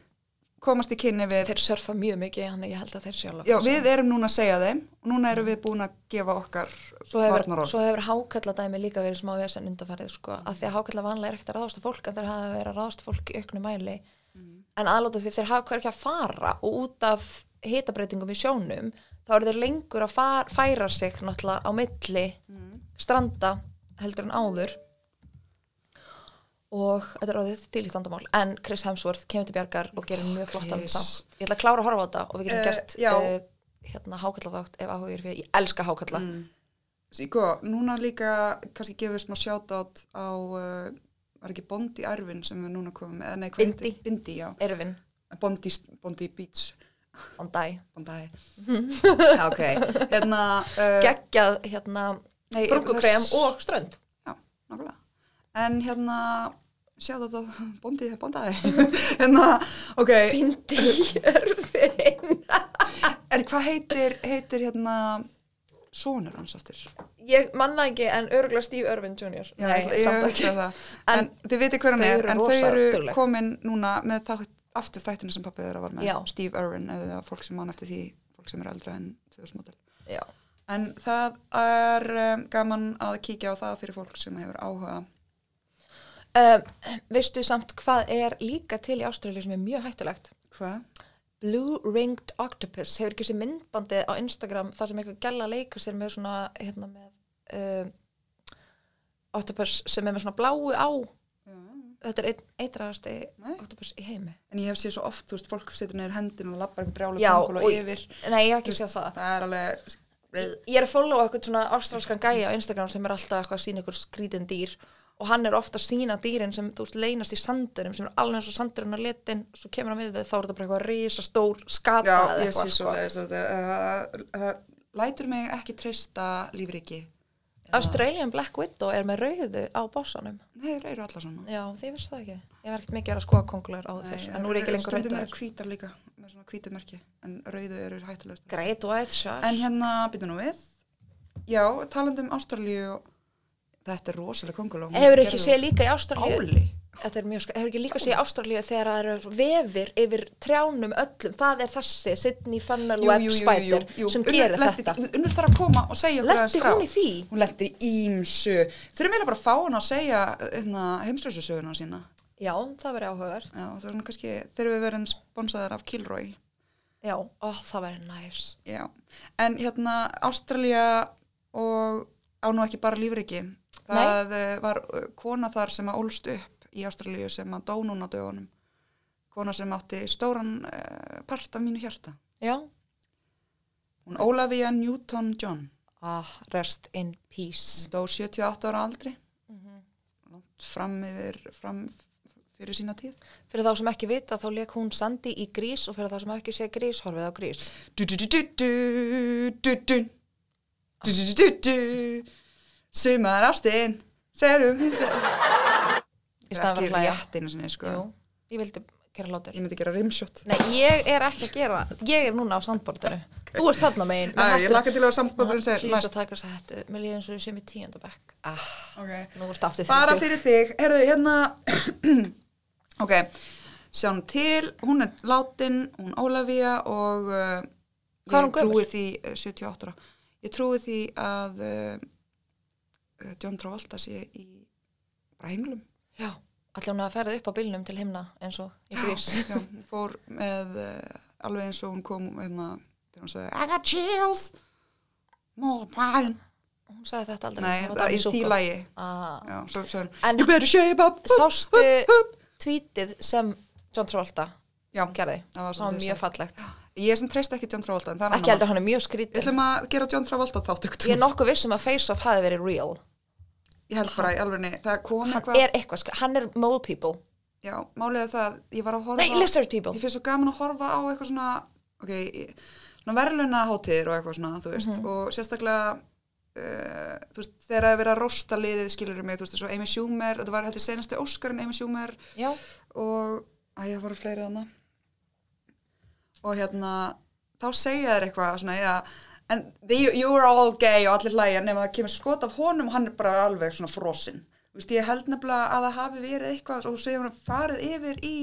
Speaker 3: komast í kynni við
Speaker 2: Þeir surfa mjög mikið, hann ég held að þeir sjálf.
Speaker 3: Já, við erum núna að segja þeim og núna erum við búin að gefa okkar
Speaker 2: Svo hefur,
Speaker 3: varnaróð.
Speaker 2: svo hefur hákalla dæmi líka verið smá vesen undanfarið sko, af því að hákalla vanlega er ekkert að ráðast á fólk en þeir hafa verið að ráðast á fólk í auknu mæli
Speaker 3: Mm.
Speaker 2: en aðlóta því þeir hafa hver ekki að fara og út af hitabreitingum í sjónum þá eru þeir lengur að far, færa sig náttúrulega á milli
Speaker 3: Mm.
Speaker 2: stranda heldur en áður og þetta er orðið þýlíkt andamál en Chris Hemsworth kemur til bjargar og gerir mjög flottan
Speaker 3: Chris.
Speaker 2: þátt ég ætla að klára að horfa á þetta og við getum
Speaker 3: Eh,
Speaker 2: gert
Speaker 3: já.
Speaker 2: uh, hérna hákalla þátt ef áhugir við, ég elska hákalla
Speaker 3: Mm. Sko, núna líka kannski gefum við smá shoutout á uh, var ekki Bondi Arvin sem við núna komum með eða nei, hvað
Speaker 2: Bindi.
Speaker 3: heitir- Bindi, já
Speaker 2: Erfin,
Speaker 3: Bondi, Bondi Beach
Speaker 2: on die
Speaker 3: Bondi Já, ok Hérna
Speaker 2: Eh,
Speaker 3: uh,
Speaker 2: geggjað hérna
Speaker 3: Nei,
Speaker 2: brúkukrem
Speaker 3: þess-
Speaker 2: og strönd
Speaker 3: Já, nákvæmlega. En hérna, sjá þetta, bóndið, bóndaði. hérna, ok,
Speaker 2: Bindi Jörfin
Speaker 3: en hvað heitir, heitir hérna, sonur hans aftur?
Speaker 2: Ég manna ekki en örgulega Steve Irvin Jr.
Speaker 3: Já,
Speaker 2: Nei,
Speaker 3: ég- ég
Speaker 2: samt
Speaker 3: hugsa
Speaker 2: ekki
Speaker 3: það. En,
Speaker 2: En
Speaker 3: þið viti hver hann
Speaker 2: þau
Speaker 3: er,
Speaker 2: eru
Speaker 3: en
Speaker 2: rosa
Speaker 3: þau eru
Speaker 2: dugleg.
Speaker 3: komin núna með það aftur þættinu sem pappið þeirra var með,
Speaker 2: Já.
Speaker 3: Steve Irwin eða fólk sem mann eftir því, fólk sem er eldra en 2000 model.
Speaker 2: Já,
Speaker 3: En það er um, gaman að kíkja á það fyrir fólk sem hefur áhuga.
Speaker 2: um, Veistu samt hvað er líka til í Ástralíu sem er mjög hættulegt
Speaker 3: Hvað?
Speaker 2: Blue Ringed Octopus hefur ekki sér myndbandið á Instagram þar sem eitthvað gæla leikur sér með svona hérna með um, octopus sem er með svona bláu á þetta er einn eitraðasti
Speaker 3: Nei.
Speaker 2: octopus í heimi
Speaker 3: En ég hef séð svo oft, þú veist, fólk setur neður hendin og lappar eitthvað brjálega
Speaker 2: Já,
Speaker 3: tungul og
Speaker 2: og-
Speaker 3: yfir.
Speaker 2: Nei, ég hef ekki
Speaker 3: Þú
Speaker 2: séð
Speaker 3: veist,
Speaker 2: það
Speaker 3: það er alveg
Speaker 2: ég er að followa eitthvað svona ástralskan gæja á Instagram sem er alltaf eitthvað að sína eitthvað skrítin dýr og hann er ofta að sína dýrin sem þú veist leynast í sandurum sem er alveg eins og sandurinn að letin svo kemur hann við þau þá er þetta bara eitthvað risastór skata
Speaker 3: já,
Speaker 2: eða
Speaker 3: ég sé svo
Speaker 2: sko.
Speaker 3: leiðis að þetta uh, uh, lætur mig ekki treysta lífriki
Speaker 2: Australian Black Widow er með rauðu á bossanum
Speaker 3: nei, þeir eru allar svona
Speaker 2: já, þið vissi það ekki ég var ekkert mikið að vera að skoða konglar á
Speaker 3: Nei,
Speaker 2: fyrr
Speaker 3: það
Speaker 2: en nú er ekki
Speaker 3: eru-
Speaker 2: lengur
Speaker 3: stundum
Speaker 2: rauðu
Speaker 3: eru hvítar líka með svona hvítu merki en rauðu eru hættulegust
Speaker 2: Great White Shark
Speaker 3: en hérna, býtum nú við já, talandi um Ástralíu þetta er rosalega konguló
Speaker 2: Mm, hefur ekki séð líka í Ástralíu
Speaker 3: áli
Speaker 2: Þetta er mjög skar, hefur ekki líka séð í Ástralíu þegar það eru vefir yfir trjánum öllum, það er þessi Sydney Funnel Web Spider sem gerir þetta.
Speaker 3: unnur þarf að koma og segja okkur aðeins
Speaker 2: Lendi
Speaker 3: frá
Speaker 2: hún í því?
Speaker 3: hún lendi í ímsu þurfum við bara að fá hann að segja heimsreysasöguna sína
Speaker 2: Já, það verið áhugavert.
Speaker 3: Já, það er nú kannski, þegar við verðum sponsaðar af Kilroy.
Speaker 2: Já, ó, það verið næs.
Speaker 3: Já, en hérna Ástralja og á nú ekki bara lífriki. Það Nei. var uh, kona þar sem að ólst upp í Ástralju sem að dó núna á dögunum. Kona sem átti stóran uh, part af mínu hjarta.
Speaker 2: Já.
Speaker 3: Hún Ólafía Newton-John.
Speaker 2: Ah, rest in peace.
Speaker 3: Hún dó 78 ára aldri.
Speaker 2: Mhm.
Speaker 3: Langt fram yfir, fram fyrir sína tíð.
Speaker 2: Fyrir þá sem ekki vita þá leik hún Sandy í grís og fyrir þá sem ekki sé grís, horfið á grís.
Speaker 3: du du du du du du du du du du du sumar ástin serum
Speaker 2: Í staðan fyrir að hlæja.
Speaker 3: réttinu sinni sko
Speaker 2: Jú, ég vildi gera látur
Speaker 3: Ég myndi gera rimshot
Speaker 2: Nei, ég er ekki að gera Ég er núna á sandbordinu Þú ert þarna megin
Speaker 3: Æ, Ég laka til að vera sambandurinn segir
Speaker 2: Plís að
Speaker 3: næst
Speaker 2: taka þess að hættu Mér líður eins og þú sem í tíundabæk ah,
Speaker 3: okay.
Speaker 2: Nú ert aftur
Speaker 3: Bara
Speaker 2: þreytuð.
Speaker 3: fyrir þig, herðu hérna Ok Sjáum til, hún er látin Hún Ólafía og uh,
Speaker 2: Hvað er hún
Speaker 3: Ég trúi
Speaker 2: gömul?
Speaker 3: því uh, 78 ára. Ég trúi því að uh, uh, John Travolta sé í bara henglum
Speaker 2: Já, allir hún að ferða upp á bylnum til himna eins og í grís
Speaker 3: Já, hún fór með uh, alveg eins og hún kom hérna, þegar hún sagði I got chills more pain
Speaker 2: Hún sagði þetta aldrei var
Speaker 3: Nei, það er
Speaker 2: Danni
Speaker 3: í
Speaker 2: Zuko.
Speaker 3: því lagi
Speaker 2: ah.
Speaker 3: Já, svo, svo,
Speaker 2: En-
Speaker 3: You better shape up
Speaker 2: Sástu
Speaker 3: upp.
Speaker 2: tweetið sem John Travolta
Speaker 3: Já,
Speaker 2: gerði
Speaker 3: Það var
Speaker 2: Það var
Speaker 3: svolítið
Speaker 2: mjög
Speaker 3: sætt.
Speaker 2: fallegt
Speaker 3: ég sem treyst ekki John Travolta en það er
Speaker 2: Ekki
Speaker 3: annað
Speaker 2: heldur hann er mjög
Speaker 3: mál. Við
Speaker 2: skrítið
Speaker 3: ætlum að gera John Travolta þátt ykkur
Speaker 2: Ég er nokkuð vissum að Face Off hafi verið real
Speaker 3: Ég held bara í alveg það kom
Speaker 2: Hann
Speaker 3: eitthvað
Speaker 2: er eitthvað, skr- hann er mole people
Speaker 3: Já, málið er það, að ég var að horfa
Speaker 2: Nei, lizard people.
Speaker 3: Ég finnst svo gaman að horfa á eitthvað svona ok, ég- svona verðluna hátíðir og eitthvað svona, þú veist
Speaker 2: Mhm.
Speaker 3: og sérstaklega uh, þú veist, þegar það er verið að rósta liðið skilur mig, þú veist, svo Amy Schumer þetta var heldur senasti Óskarinn Amy Schumer
Speaker 2: Já,
Speaker 3: og að ég voru fleiri þarna og hérna þá segja þér eitthvað svona já, and the, you are all gay og allir hlæja nema það kemur skot af honum og hann er bara alveg svona frosinn Þú veist, ég held nefnilega að það hafi verið eitthvað og segja hann farið yfir í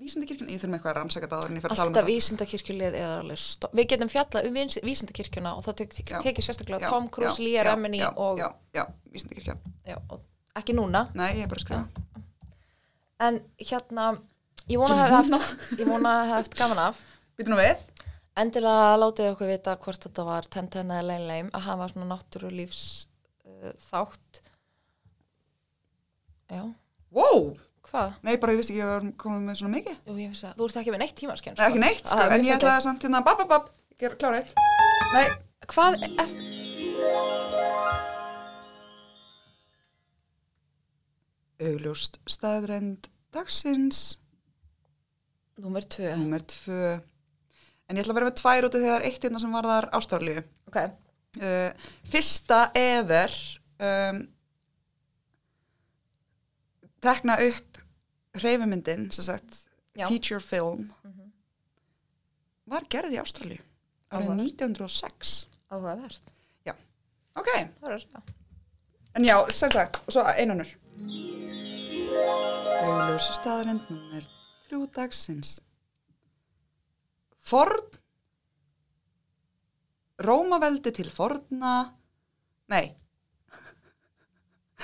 Speaker 3: vísindakirkjun, ég þurfum eitthvað að rannsaka þetta áður en ég fer að tala um
Speaker 2: alltaf
Speaker 3: það
Speaker 2: vísindakirkjulið eða alveg stó... Við getum fjallað um víns- vísindakirkjuna og það tek, tek,
Speaker 3: Já,
Speaker 2: tekið sérstaklega
Speaker 3: já,
Speaker 2: Tom Cruise,
Speaker 3: já,
Speaker 2: Lía
Speaker 3: já,
Speaker 2: Remini
Speaker 3: já,
Speaker 2: og,
Speaker 3: já, já, vísindakirkja,
Speaker 2: já, og ekki núna
Speaker 3: nei, ég er bara að skrifa
Speaker 2: En hérna, ég vona að hafa haft, ég vona að hafa haft gaman af
Speaker 3: býtum nú við,
Speaker 2: Endilega látið okkur vita hvort þetta var Tenten eða Leinleim að hafa svona náttúrulífs uh, þátt Já,
Speaker 3: wow
Speaker 2: hvað?
Speaker 3: nei, bara ég vissi ekki að ég var komin með svona mikið
Speaker 2: Jú, ég finnst að þú ert ekki með neitt tímaskjön
Speaker 3: Nei, ekki neitt, sko, en ég ætlaði samt hérna, bap, bap, bap, gera klára eitt. Nei,
Speaker 2: Hvað er
Speaker 3: augljóst staðrænd dagsins,
Speaker 2: Númer tvö
Speaker 3: númer tvö. En ég ætla að vera með tvær út af því að það er eitt hérna sem varðar Ástralíu.
Speaker 2: Ok,
Speaker 3: Uh, fyrsta ever um, tekna upp hreyfumyndin, sem sagt,
Speaker 2: Já.
Speaker 3: feature film, var gerð í Ástralíu árið
Speaker 2: Áhugavert.
Speaker 3: 1906.
Speaker 2: áhugavert
Speaker 3: Já, ok.
Speaker 2: Það var það
Speaker 3: En já, sem sagt, og svo einanur. Auðljósu staðarind nummer þrjú dagsins. Forn. Rómaveldi til forna. Nei.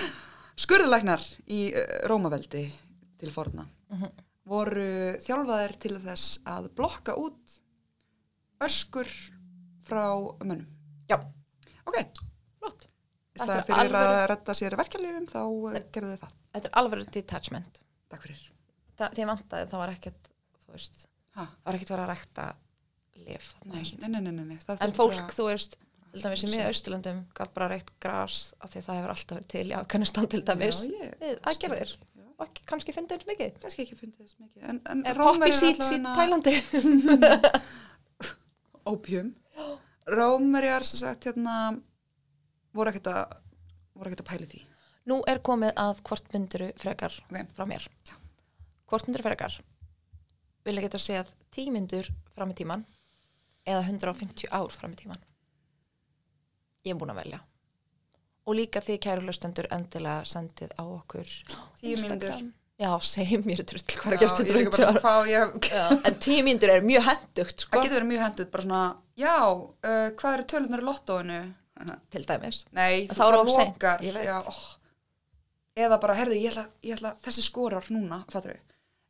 Speaker 3: Skurðlæknar í eh, Rómaveldi til forna voru þjálfaðir til þess að blokka út öskur frá mönnum.
Speaker 2: Já,
Speaker 3: Ok,
Speaker 2: flott
Speaker 3: í staðan
Speaker 2: Þetta er
Speaker 3: fyrir að
Speaker 2: alvöru-
Speaker 3: redda sér verkefliðum þá eh, gerðu þau það.
Speaker 2: Þetta er alveg detachment
Speaker 3: Takk fyrir.
Speaker 2: Það, því vantaði það var ekkert, þú veist það
Speaker 3: Ha,
Speaker 2: var ekkert verið að rækta lif
Speaker 3: nei, nei, nei, nei, nei, nei. það
Speaker 2: En
Speaker 3: þurfti
Speaker 2: fólk,
Speaker 3: að-
Speaker 2: þú veist, til dæmis í miða Austurlöndum galt bara reykt gras af því að það hefur alltaf verið til í Afganistan til dæmis
Speaker 3: Já, ég-
Speaker 2: við aðgerðir og ekki, kannski fyndið eins mikið
Speaker 3: Kannski ekki fundið þess mikið. En, en
Speaker 2: Er poppi
Speaker 3: Rómverjar
Speaker 2: síl síl
Speaker 3: allavega-
Speaker 2: Tælandi
Speaker 3: Opium. Rómverjar sem sagt hérna voru ekkert að voru ekkert að pæli því.
Speaker 2: Nú er komið að hvort mynduru frekar
Speaker 3: Ok.
Speaker 2: frá mér
Speaker 3: Já.
Speaker 2: Hvort mynduru frekar vil ég geta að segja tímyndur fram í tíman eða 150 ár fram í tíman Ég er búin að velja og líka því kæru hlustendur endilega sendið á okkur
Speaker 3: Tíu
Speaker 2: Instagram.
Speaker 3: mínútur.
Speaker 2: Já, segjum mér trull hvað er að
Speaker 3: Já,
Speaker 2: gerst
Speaker 3: ég er
Speaker 2: 150
Speaker 3: líka bara
Speaker 2: ár
Speaker 3: svona, Hvað, ég,
Speaker 2: Já, en tíu mínútur er mjög hendugt sko,
Speaker 3: það getur verið mjög hendut, bara svona, já, uh, hvað eru tölunar í lottóinu?
Speaker 2: til dæmis
Speaker 3: Nei,
Speaker 2: En
Speaker 3: þú
Speaker 2: þá er
Speaker 3: bara
Speaker 2: of seint,
Speaker 3: lokar,
Speaker 2: ég veit.
Speaker 3: já, ó. eða bara, herðu, ég ætla, ég ætla þessi skorar núna, fattur við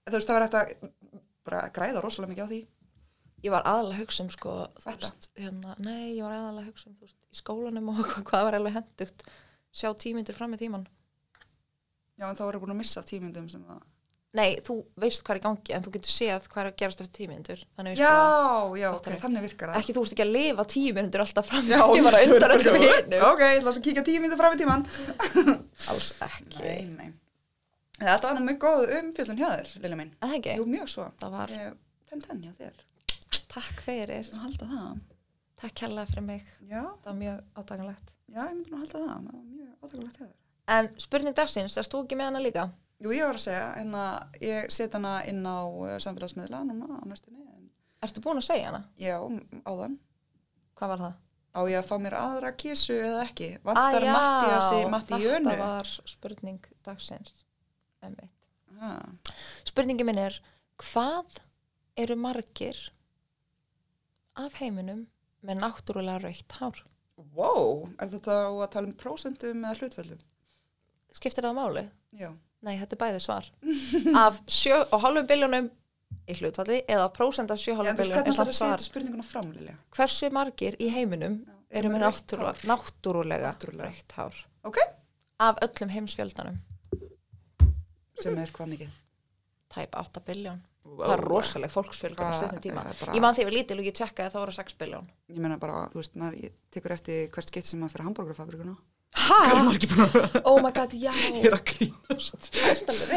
Speaker 3: þú veist, það var hægt að bara græða rosalega mikið á því
Speaker 2: ég var aðalega að hugsa um sko, þú
Speaker 3: Þetta?
Speaker 2: veist, hérna, nei, ég var aðalega að hugsa um þú veist, í skólanum og hvað, hvað var alveg hendugt sjá tíu mínútur fram í tíman
Speaker 3: já, en þá voru búin að missa tímyndum sem að
Speaker 2: nei, þú veist hvað er í gangi en þú getur séð hvað er að gerast eftir tíu mínútur þannig veist
Speaker 3: já,
Speaker 2: það
Speaker 3: já, ok,
Speaker 2: Fattar við.
Speaker 3: þannig virkar það
Speaker 2: sko. ekki þú ert ekki að lifa tíu mínútur alltaf fram í
Speaker 3: já,
Speaker 2: tíman að
Speaker 3: þú verður
Speaker 2: undan
Speaker 3: bara
Speaker 2: öllum
Speaker 3: svona,
Speaker 2: hinnum
Speaker 3: ok, ég ætla að kíkja tímyndu fram í tíman
Speaker 2: alls ekki
Speaker 3: nei, nei þetta var nú mjög góð umfjöldun hjá þér, Lilja mín
Speaker 2: Að það ekki?
Speaker 3: jú, mjög svo
Speaker 2: Það var-
Speaker 3: Ég- ten ten hjá þér,
Speaker 2: takk fyrir,
Speaker 3: ég vil halda það
Speaker 2: takk hella fyrir mig
Speaker 3: já,
Speaker 2: það var mjög átakanlegt
Speaker 3: já, ég myndi nú halda það, það var mjög átakulegt hjá þér
Speaker 2: en spurning dagsins, erst þú ekki með hana líka?
Speaker 3: Jú, ég var að segja, hérna, ég set hana inn á uh, samfélagsmiðla núna á næstinni, en
Speaker 2: Ertu búin að segja hana?
Speaker 3: já, m- áðan,
Speaker 2: Hvað var það?
Speaker 3: á ég að fá mér aðra kísu eða ekki? Vandar
Speaker 2: já,
Speaker 3: Mattiasi Matti Jönu?
Speaker 2: Þetta var spurning dagsins M1
Speaker 3: Ha,
Speaker 2: Spurningi minn er hvað eru margir af heiminum með náttúrulega raukt hár?
Speaker 3: wow, er þetta á að tala um prósentum eða hlutföllum?
Speaker 2: Skiptir það máli?
Speaker 3: Já,
Speaker 2: Nei, þetta er bæði svar af 7,5 biljónum í hlutfalli eða prósent af 7,5
Speaker 3: en þú veist
Speaker 2: biljónum
Speaker 3: hvernig
Speaker 2: er samt
Speaker 3: það er að
Speaker 2: svar
Speaker 3: setja spurninguna fram, Lilja?
Speaker 2: Hversu margir í heiminum
Speaker 3: Já,
Speaker 2: eru
Speaker 3: eru
Speaker 2: með
Speaker 3: með rautt
Speaker 2: náttúrulega, náttúrulega,
Speaker 3: Náttúrulega.
Speaker 2: raukt hár
Speaker 3: Ok,
Speaker 2: Mhm. af öllum heimsfjöldanum?
Speaker 3: sem er hvað mikið?
Speaker 2: tæp 8 biljón
Speaker 3: Vá.
Speaker 2: það er rosaleg fólksfjölgun á
Speaker 3: Bara-
Speaker 2: stundum tíma
Speaker 3: það er bara-
Speaker 2: ég man því að við lítil og ég tjekkaði að það voru 6 biljón
Speaker 3: Ég meina bara, þú veist, maður ég tekur eftir hvert skitt sem maður fyrir hambúrgarfabrikuna.
Speaker 2: ha?
Speaker 3: Margir búin að
Speaker 2: oh my god, já
Speaker 3: ég er að grínast.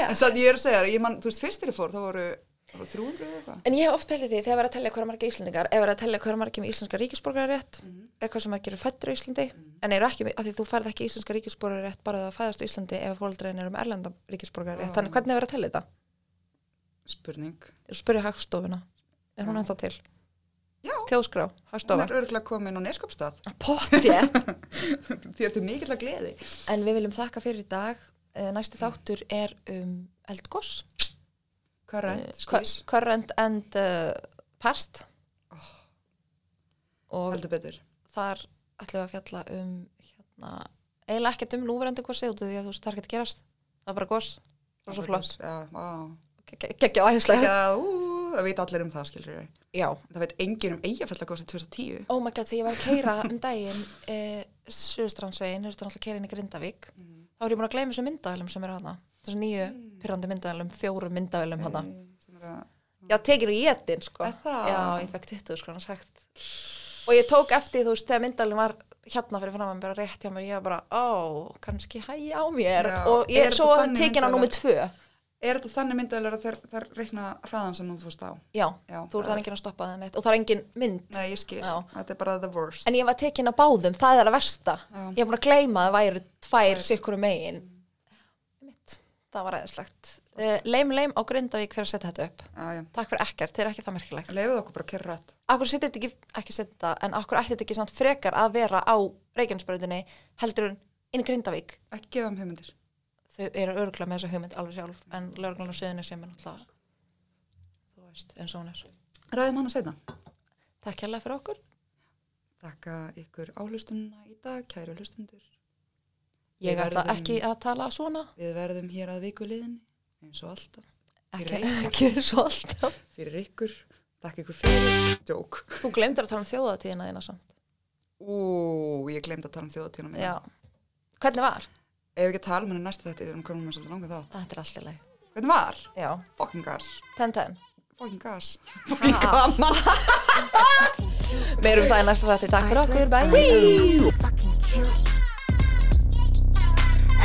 Speaker 3: En sann ég er að segja þér, ég man, þú veist, fyrst þegar ég fór, það voru, það voru 300 eða eitthvað.
Speaker 2: en ég hef oft pælið því þegar verið að tellja hverja margir íslendingar ef verið að tellja hverja margir með íslenska ríkisborgara rétt
Speaker 3: Mhm.
Speaker 2: eða hversu margir eru fættur á Íslandi en eru ekki, með- af því þú færð ekki íslenska ríkisborgara rétt bara það fæðast á Íslandi ef fóldrein eru með erlenda ríkisborgara
Speaker 3: Ah.
Speaker 2: rétt þannig hvernig er verið að tellja þetta?
Speaker 3: Spurning.
Speaker 2: Ég spurði hagstofuna, er hún ennþá til?
Speaker 3: Ah. Já,
Speaker 2: Þjóðskrá,
Speaker 3: hún
Speaker 2: hagstofa
Speaker 3: er örgulega komin á neskopstað.
Speaker 2: Pottjétt
Speaker 3: Því þetta er mikill að gleði.
Speaker 2: En við viljum þakka fyrir í dag. Eh, Næsti þáttur er um eldgoss.
Speaker 3: Current,
Speaker 2: Cu-
Speaker 3: skvís.
Speaker 2: sko, Current Oh. and uh, past. Og
Speaker 3: Heldur betur.
Speaker 2: þar ætlum við að fjalla um hérna, eiginlega ekkert um núverandi gossið út af því að þú veist það er ekki að gerast. Það er bara goss. Það er svo flott.
Speaker 3: Já, vá.
Speaker 2: Gekkja áherslega.
Speaker 3: Já, ú, það veit allir um það, skilur ég.
Speaker 2: Já.
Speaker 3: Það veit engin um eigafellagósi 2010.
Speaker 2: Oh my god, þegar ég var að keira um daginn eh, Suðustrandsvegin, þú veist náttúrulega að keira inn í Grindavík þá er ég búin að gleyma þessum myndavælum sem eru hana þessum nýju pyrrandi myndavælum, fjórum myndavælum hana
Speaker 3: Sem er að-
Speaker 2: Já, tekin úr étin, sko.
Speaker 3: Er það?
Speaker 2: Já, ég fekk 20 skrona sagt. Og ég tók eftir, þú veist, þegar myndalinn var hérna fyrir fram að mér bara rétt hjá mér, ég var bara, ó, kannski hægja á mér.
Speaker 3: Já,
Speaker 2: og
Speaker 3: er
Speaker 2: ég,
Speaker 3: þetta
Speaker 2: svo var
Speaker 3: þannig
Speaker 2: tekin á
Speaker 3: myndavél?
Speaker 2: númur tvö.
Speaker 3: Er þetta þannig myndaðilega að þær- þær reikna hraðan sem þú fórst á?
Speaker 2: Já,
Speaker 3: Já,
Speaker 2: þú
Speaker 3: það
Speaker 2: er það enginn að stoppa það neitt og það er enginn mynd.
Speaker 3: Nei, ég skil.
Speaker 2: Já.
Speaker 3: Þetta er bara the worst.
Speaker 2: En ég var tekin á báðum, það er að versta.
Speaker 3: Já.
Speaker 2: Ég er búin að gleyma að það væru tvær sikkur um megin. Mitt, það var eðislegt. Uh, leim, leim á Grindavík fyrir að setja þetta upp.
Speaker 3: Já, já.
Speaker 2: Takk fyrir ekkert, þið er ekki það merkilegt.
Speaker 3: Leifið okkur bara að kerra rætt.
Speaker 2: akkur setja þetta ekki, ekki setja þetta, en akkur ætti þetta ekki samt frekar að vera á Reykjanesbröðinni heldur en inn í Grindavík
Speaker 3: Ekki gefa um hugmyndir.
Speaker 2: þau eru örgla með þessa hugmynd alveg sjálf en lögreglan á söðunni sem er náttúrulega þú veist, eins og hún er
Speaker 3: Ræðum hana setna.
Speaker 2: Takk hérlega fyrir okkur
Speaker 3: Þakka ykkur áhlustunna í dag, kæru hlustundur.
Speaker 2: Ég
Speaker 3: Við
Speaker 2: ætla
Speaker 3: verðum-
Speaker 2: ekki að tala svona
Speaker 3: Við verðum hér að vikuliðinni, eins og alltaf.
Speaker 2: ekki,
Speaker 3: Fyrir
Speaker 2: ekki svo alltaf
Speaker 3: Fyrir ykkur, takk ykkur fyrir, djók.
Speaker 2: Þú glemdir að tala um þjóðatíðina þína samt
Speaker 3: Ú, ég glemd að tala um þjóðatíðina minna.
Speaker 2: Já, hvernig var?
Speaker 3: Ef við ekki að tala um henni næsta þetta, við erum komin með svolítið langa þátt.
Speaker 2: Þetta er allt í leið
Speaker 3: Hvernig var?
Speaker 2: Já,
Speaker 3: Fucking gas.
Speaker 2: ten ten
Speaker 3: Fucking gas.
Speaker 2: Meirum um það í næsta þætti, takk fyrir okkur, bye
Speaker 4: Fucking cute.